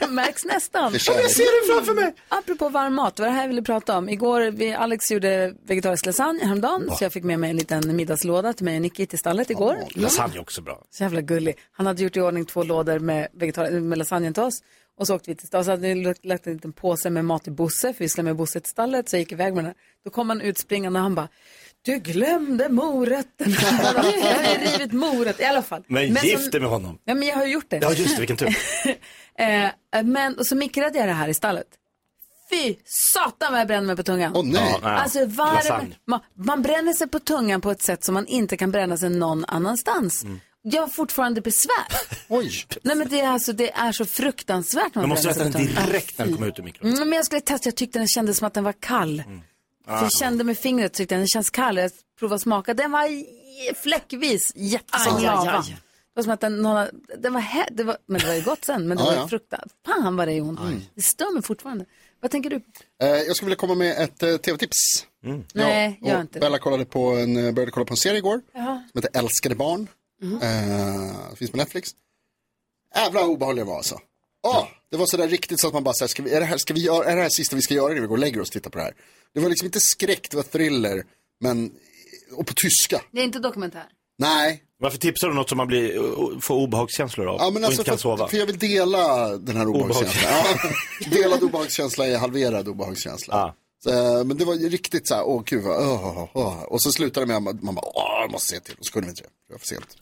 Speaker 1: Det märks nästan.
Speaker 3: Det är kärlek. Ja, jag ser
Speaker 1: det framför mig. Apropå varm mat, vad det här jag ville prata om. Igår, vi, Alex gjorde vegetarisk lasagne häromdagen, så jag fick med mig en liten middagslåda till mig och Nicky till stallet igår.
Speaker 3: Lasagne är också bra.
Speaker 1: Så jävla gullig. Han hade gjort i ordning två lådor med, vegetar- med lasagnen till oss. Och så åkte vi till stallet. Så hade vi lagt- lagt en liten påse med mat till Bosse, för vi skulle med Bosse till stallet. Så jag gick iväg med den. här. Då kom han utspringande och han bara, du glömde morötterna. jag hade rivit morötter i alla fall.
Speaker 3: Men,
Speaker 1: som-
Speaker 3: gift dig med honom.
Speaker 1: Nej, men jag har ju gjort det.
Speaker 3: Ja just det, vilken tur.
Speaker 1: Eh, men, och så mikrade jag det här i stallet. Fy satan vad jag brände mig på tungan.
Speaker 2: Åh, nej. Ja, nej.
Speaker 1: Alltså varm,
Speaker 2: Lasagne.
Speaker 1: man, man bränner sig på tungan på ett sätt som man inte kan bränna sig någon annanstans. Jag har fortfarande besvär.
Speaker 2: Oj.
Speaker 1: Nej men det är, alltså, det är så fruktansvärt när man
Speaker 3: Man måste
Speaker 1: bränner
Speaker 3: äta
Speaker 1: sig
Speaker 3: den
Speaker 1: på tungan.
Speaker 3: direkt när den kommer ut ur mikron.
Speaker 1: Mm, men jag skulle testa, jag tyckte den kändes som att den var kall. Så
Speaker 3: Ah.
Speaker 1: jag kände med fingret, tyckte den känns kall. Jag provade att smaka, den var i- fläckvis jättesång
Speaker 4: Aj, aj, aj.
Speaker 1: lava. Det var som att den, någon, har- den var, hä- det var, men det var ju gott sen, men det
Speaker 2: Ja,
Speaker 1: var
Speaker 2: ja.
Speaker 1: ju fruktat. Fan vad det är ont. Det stör mig fortfarande. Vad tänker du?
Speaker 2: Eh, jag skulle vilja komma med ett eh, tv-tips.
Speaker 1: Nej,
Speaker 2: och
Speaker 1: gör inte det.
Speaker 2: Bella kollade på en, eh, började kolla på en serie igår
Speaker 1: Jaha. Mhm.
Speaker 2: som heter Älskade barn. Eh, finns på Netflix. Jävlar vad obehaglig det var alltså. Oh, det var sådär riktigt så att man bara, så här, ska vi, är, det här, ska vi göra, är det här sista vi ska göra när vi går och lägger oss och tittar på det här? Det var liksom inte skräck, det var thriller, men och på tyska.
Speaker 1: Det är inte dokumentär.
Speaker 2: Nej.
Speaker 3: Varför tipsar du något som man blir, får obehagskänslor av
Speaker 2: Ja, men
Speaker 3: och
Speaker 2: alltså
Speaker 3: inte kan
Speaker 2: för,
Speaker 3: sova?
Speaker 2: att- för jag vill dela den här obehagskänslan. Ja, delad obehagskänsla är halverad obehagskänsla. Så, eh, men det var ju riktigt så här, åh gud vad, åh, åh, åh. Och så slutade det med att man bara, åh, jag måste se till. Och så kunde vi inte det. Det var för sent.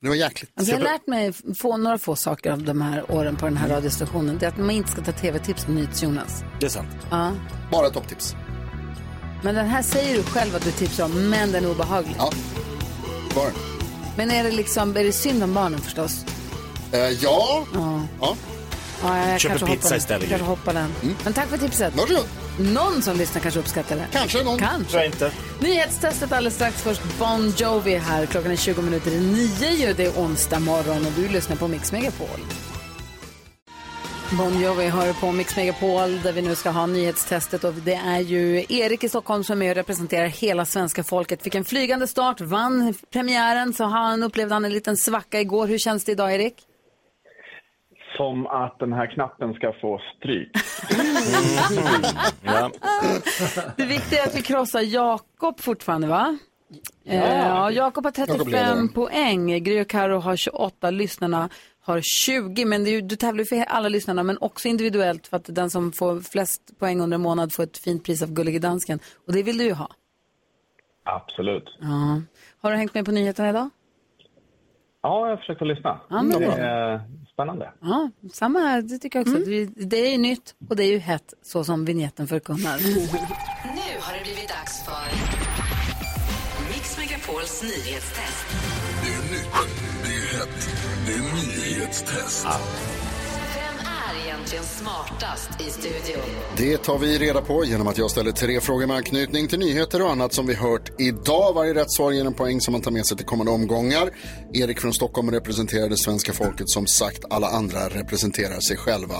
Speaker 2: Det var jäkligt.
Speaker 1: Alltså jag har lärt mig få, några få saker av de här åren på den här radiostationen. Det är att man inte ska ta tv-tips på NyhetsJonas.
Speaker 3: Det är sant.
Speaker 1: Ja.
Speaker 2: Bara topptips.
Speaker 1: Men den här säger du själv att du tipsar om, men den är obehaglig.
Speaker 2: Ja, var den.
Speaker 1: Men är det liksom, är det synd om barnen förstås?
Speaker 2: Eh, ja.
Speaker 1: Ja.
Speaker 2: ja.
Speaker 1: Ja, jag
Speaker 2: Köp en
Speaker 1: kanske
Speaker 2: pizza
Speaker 1: hoppar,
Speaker 2: istället,
Speaker 1: Kanske
Speaker 2: ju.
Speaker 1: hoppar den. Men tack för tipset.
Speaker 2: Varsågod.
Speaker 1: Någon som lyssnar kanske uppskattar det.
Speaker 2: Kanske någon.
Speaker 1: Kanske.
Speaker 3: Tror jag inte.
Speaker 1: Nyhetstestet alldeles strax. Först Bon Jovi här. Klockan är 20 minuter i nio. Ju. Det är onsdag morgon och du lyssnar på Mix Megapol. Bon Jovi hör på Mix Megapol där vi nu ska ha nyhetstestet och det är ju Erik i Stockholm som är med och representerar hela svenska folket. Fick en flygande start, vann premiären, så han upplevde han en liten svacka igår. Hur känns det idag Erik?
Speaker 12: Som att den här knappen ska få stryk.
Speaker 1: Det viktiga är att vi krossar Jakob fortfarande, va? Ja. ja Jakob har
Speaker 12: Jakob leder.
Speaker 1: 35 poäng. Gry och Karo har 28, lyssnarna har 20. Men det är ju, du tävlar ju för alla lyssnarna, men också individuellt för att den som får flest poäng under en månad får ett fint pris av Gullige Dansken. Och det vill du ju ha.
Speaker 12: Absolut.
Speaker 1: Ja. Har du hängt med på nyheterna idag?
Speaker 12: Ja, jag försökte lyssna.
Speaker 1: Ja, men
Speaker 12: det
Speaker 1: bra.
Speaker 12: är eh, spännande.
Speaker 1: Ja, samma här. Det tycker jag också. Det, det är ju nytt och det är ju hett, så som vignetten förkunnar.
Speaker 11: Nu har det blivit dags för Mix Megapols nyhetstest.
Speaker 6: Det är nytt, det är hett, det är nyhetstest.
Speaker 11: Vem är egentligen smartast i studion?
Speaker 2: Det tar vi reda på genom att jag ställer tre frågor med anknytning till nyheter och annat som vi hört idag. Varje rätt svar ger en poäng som man tar med sig till kommande omgångar. Erik från Stockholm representerar det svenska folket. Som sagt, alla andra representerar sig själva.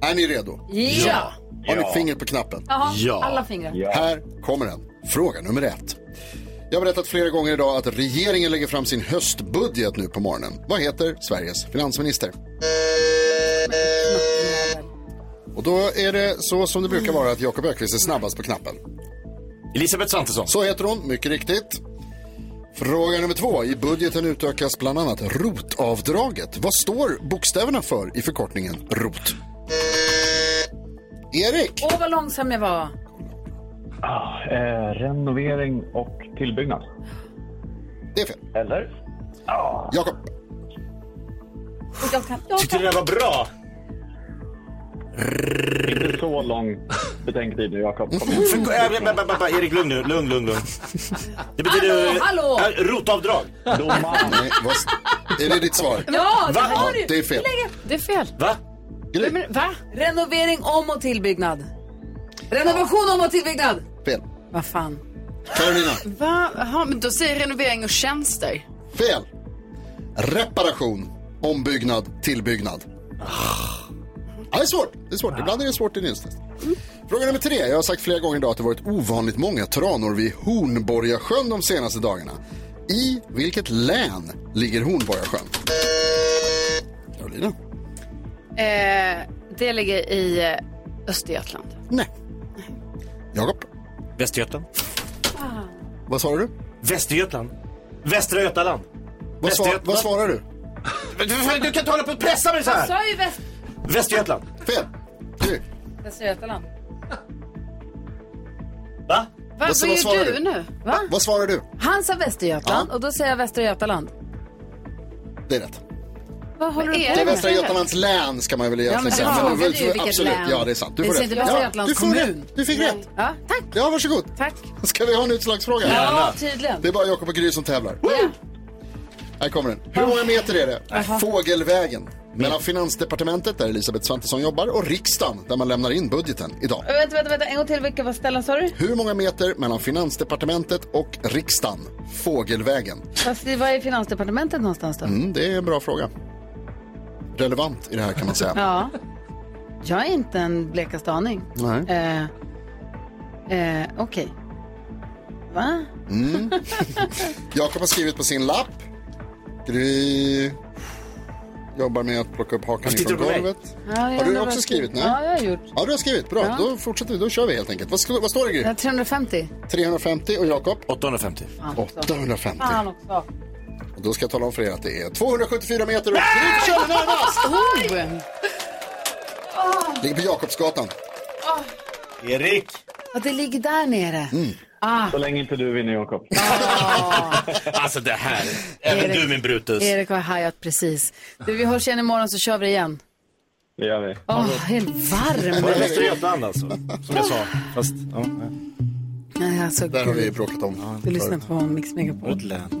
Speaker 2: Är ni redo?
Speaker 1: Ja.
Speaker 2: Har ni
Speaker 1: Ja.
Speaker 2: fingret på knappen?
Speaker 1: Jaha, alla fingrar.
Speaker 2: Här kommer den. Fråga nummer ett. Jag har berättat flera gånger idag att regeringen lägger fram sin höstbudget nu på morgonen. Vad heter Sveriges finansminister? Och då är det så som det brukar vara att Jakob Ökvist är snabbast på knappen.
Speaker 3: Elisabeth Svantesson.
Speaker 2: Så heter hon, mycket riktigt. Fråga nummer två. I budgeten utökas bland annat ROT-avdraget. Vad står bokstäverna för i förkortningen ROT? Erik!
Speaker 1: Åh, vad långsam jag var.
Speaker 12: Ah, eh, renovering och tillbyggnad.
Speaker 2: Det är fel.
Speaker 12: Eller? Ah.
Speaker 2: Jakob.
Speaker 1: Jag kan, jag
Speaker 12: Tyckte det där var bra. Inte så lång betänketid nu, Jakob. Kom igen.
Speaker 3: För, äh, ba, ba, ba, ba, Erik, lugn nu. Lugn, lugn, lugn. Det
Speaker 12: Hallå, hallå!
Speaker 3: Äh, rotavdrag.
Speaker 2: Nej, vad- Är det ditt svar?
Speaker 1: Ja, det
Speaker 3: Va?
Speaker 1: har du.
Speaker 2: Ja, det är fel.
Speaker 1: Lägg- Det är fel.
Speaker 3: Va?
Speaker 1: Men, va? Renovering, om och tillbyggnad. Renovation, om och tillbyggnad.
Speaker 2: Fel.
Speaker 1: Vad fan.
Speaker 2: Carolina.
Speaker 4: Va? Jaha, men då säger renovering och tjänster.
Speaker 2: Fel. Reparation, ombyggnad, tillbyggnad. Ah. Ja, det är svårt. Det är svårt. Ibland är det svårt i nyhetstest. Fråga nummer tre. Jag har sagt flera gånger idag att det varit ovanligt många tranor vid Hornborgasjön de senaste dagarna. I vilket län ligger Hornborgasjön? Carolina.
Speaker 4: Eh, det ligger i eh, Östergötland.
Speaker 2: Nej. Jakob.
Speaker 3: Västergötland.
Speaker 2: Vad sa du?
Speaker 3: Västergötland. Västra Götaland.
Speaker 2: Vad, svar, vad svarar du?
Speaker 3: Men Du, du kan inte hålla på och pressa mig så
Speaker 1: Jag
Speaker 12: Alltså-
Speaker 3: här.
Speaker 1: sa ju Väst-
Speaker 3: Västergötland.
Speaker 2: Fel.
Speaker 1: Västra Götaland.
Speaker 3: Va?
Speaker 1: Vad- vad gör
Speaker 2: Alltså, svarar
Speaker 1: du nu? Va?
Speaker 2: Vad svarar du?
Speaker 1: Han sa Västergötland och då säger jag Västra Götaland.
Speaker 2: Det är rätt.
Speaker 1: Vad håller du
Speaker 2: Det
Speaker 1: på med?
Speaker 2: är Västra Götalands län ska man väl egentligen
Speaker 1: men
Speaker 2: säga.
Speaker 1: det
Speaker 2: Men du-
Speaker 1: frågade ju vilket
Speaker 2: absolut,
Speaker 1: län.
Speaker 2: ja det är sant. Du
Speaker 1: Det
Speaker 2: får
Speaker 1: är
Speaker 2: rätt.
Speaker 1: inte Västra
Speaker 2: Ja,
Speaker 1: Götalands
Speaker 2: du får rätt.
Speaker 1: kommun.
Speaker 2: Du fick rätt.
Speaker 1: Ja, tack.
Speaker 2: Ja, varsågod.
Speaker 1: Tack.
Speaker 2: Ska vi ha en utslagsfråga?
Speaker 1: Ja, tydligen.
Speaker 2: Det är bara Jakob och Gry som tävlar. Här kommer den. Hur många meter är det? Fågelvägen. Mellan Finansdepartementet, där Elisabeth Svantesson jobbar, och riksdagen, där man lämnar in budgeten idag.
Speaker 1: Äh, Vänta, vänta, vänta. En gång till. Vilka var ställen sa du?
Speaker 2: Hur många meter mellan Finansdepartementet och riksdagen? Fågelvägen.
Speaker 1: Fast det var i Finansdepartementet någonstans då?
Speaker 2: Mm, det är en bra fråga. Relevant i det här kan man säga.
Speaker 1: Ja. Jag har inte en blekaste aning.
Speaker 2: Nej.
Speaker 1: Eh, eh, Okej. Va?
Speaker 2: Mm. Jakob har skrivit på sin lapp. Gry jobbar med att plocka upp hakan
Speaker 3: Varför tittar
Speaker 2: ifrån
Speaker 3: du på mig?
Speaker 2: golvet.
Speaker 1: Ja, jag
Speaker 2: har du
Speaker 1: undrar
Speaker 2: också
Speaker 1: vad-
Speaker 2: skrivit nu?
Speaker 1: Ja, jag har gjort.
Speaker 2: Ja, du har skrivit. Bra,
Speaker 1: Ja.
Speaker 2: då fortsätter vi. Då kör vi helt enkelt. Vad, sk- vad står det Gry?
Speaker 1: Jag har 350.
Speaker 2: 350 och Jakob?
Speaker 3: 850.
Speaker 2: 850.
Speaker 1: Fan också.
Speaker 2: Och då ska jag tala om för er att det är 274 meter och Gry kör närmast!
Speaker 1: Oj!
Speaker 2: Ligger på Jakobsgatan.
Speaker 3: Erik.
Speaker 1: Ja, det ligger där nere. Ah,
Speaker 12: Så länge inte du vinner, Jakob.
Speaker 3: Alltså det här. Även
Speaker 1: Erik.
Speaker 3: du min Brutus.
Speaker 1: Erik har hajat precis. Du, vi hörs igen imorgon så kör vi igen.
Speaker 12: Det gör vi.
Speaker 1: Åh, helt varm.
Speaker 3: Var det Västra Götaland alltså? Som jag sa. Fast, ja.
Speaker 1: Nej, alltså,
Speaker 2: Där har vi bråkat om.
Speaker 1: Du lyssnar på Mix Megapol.
Speaker 3: län.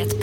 Speaker 11: Ett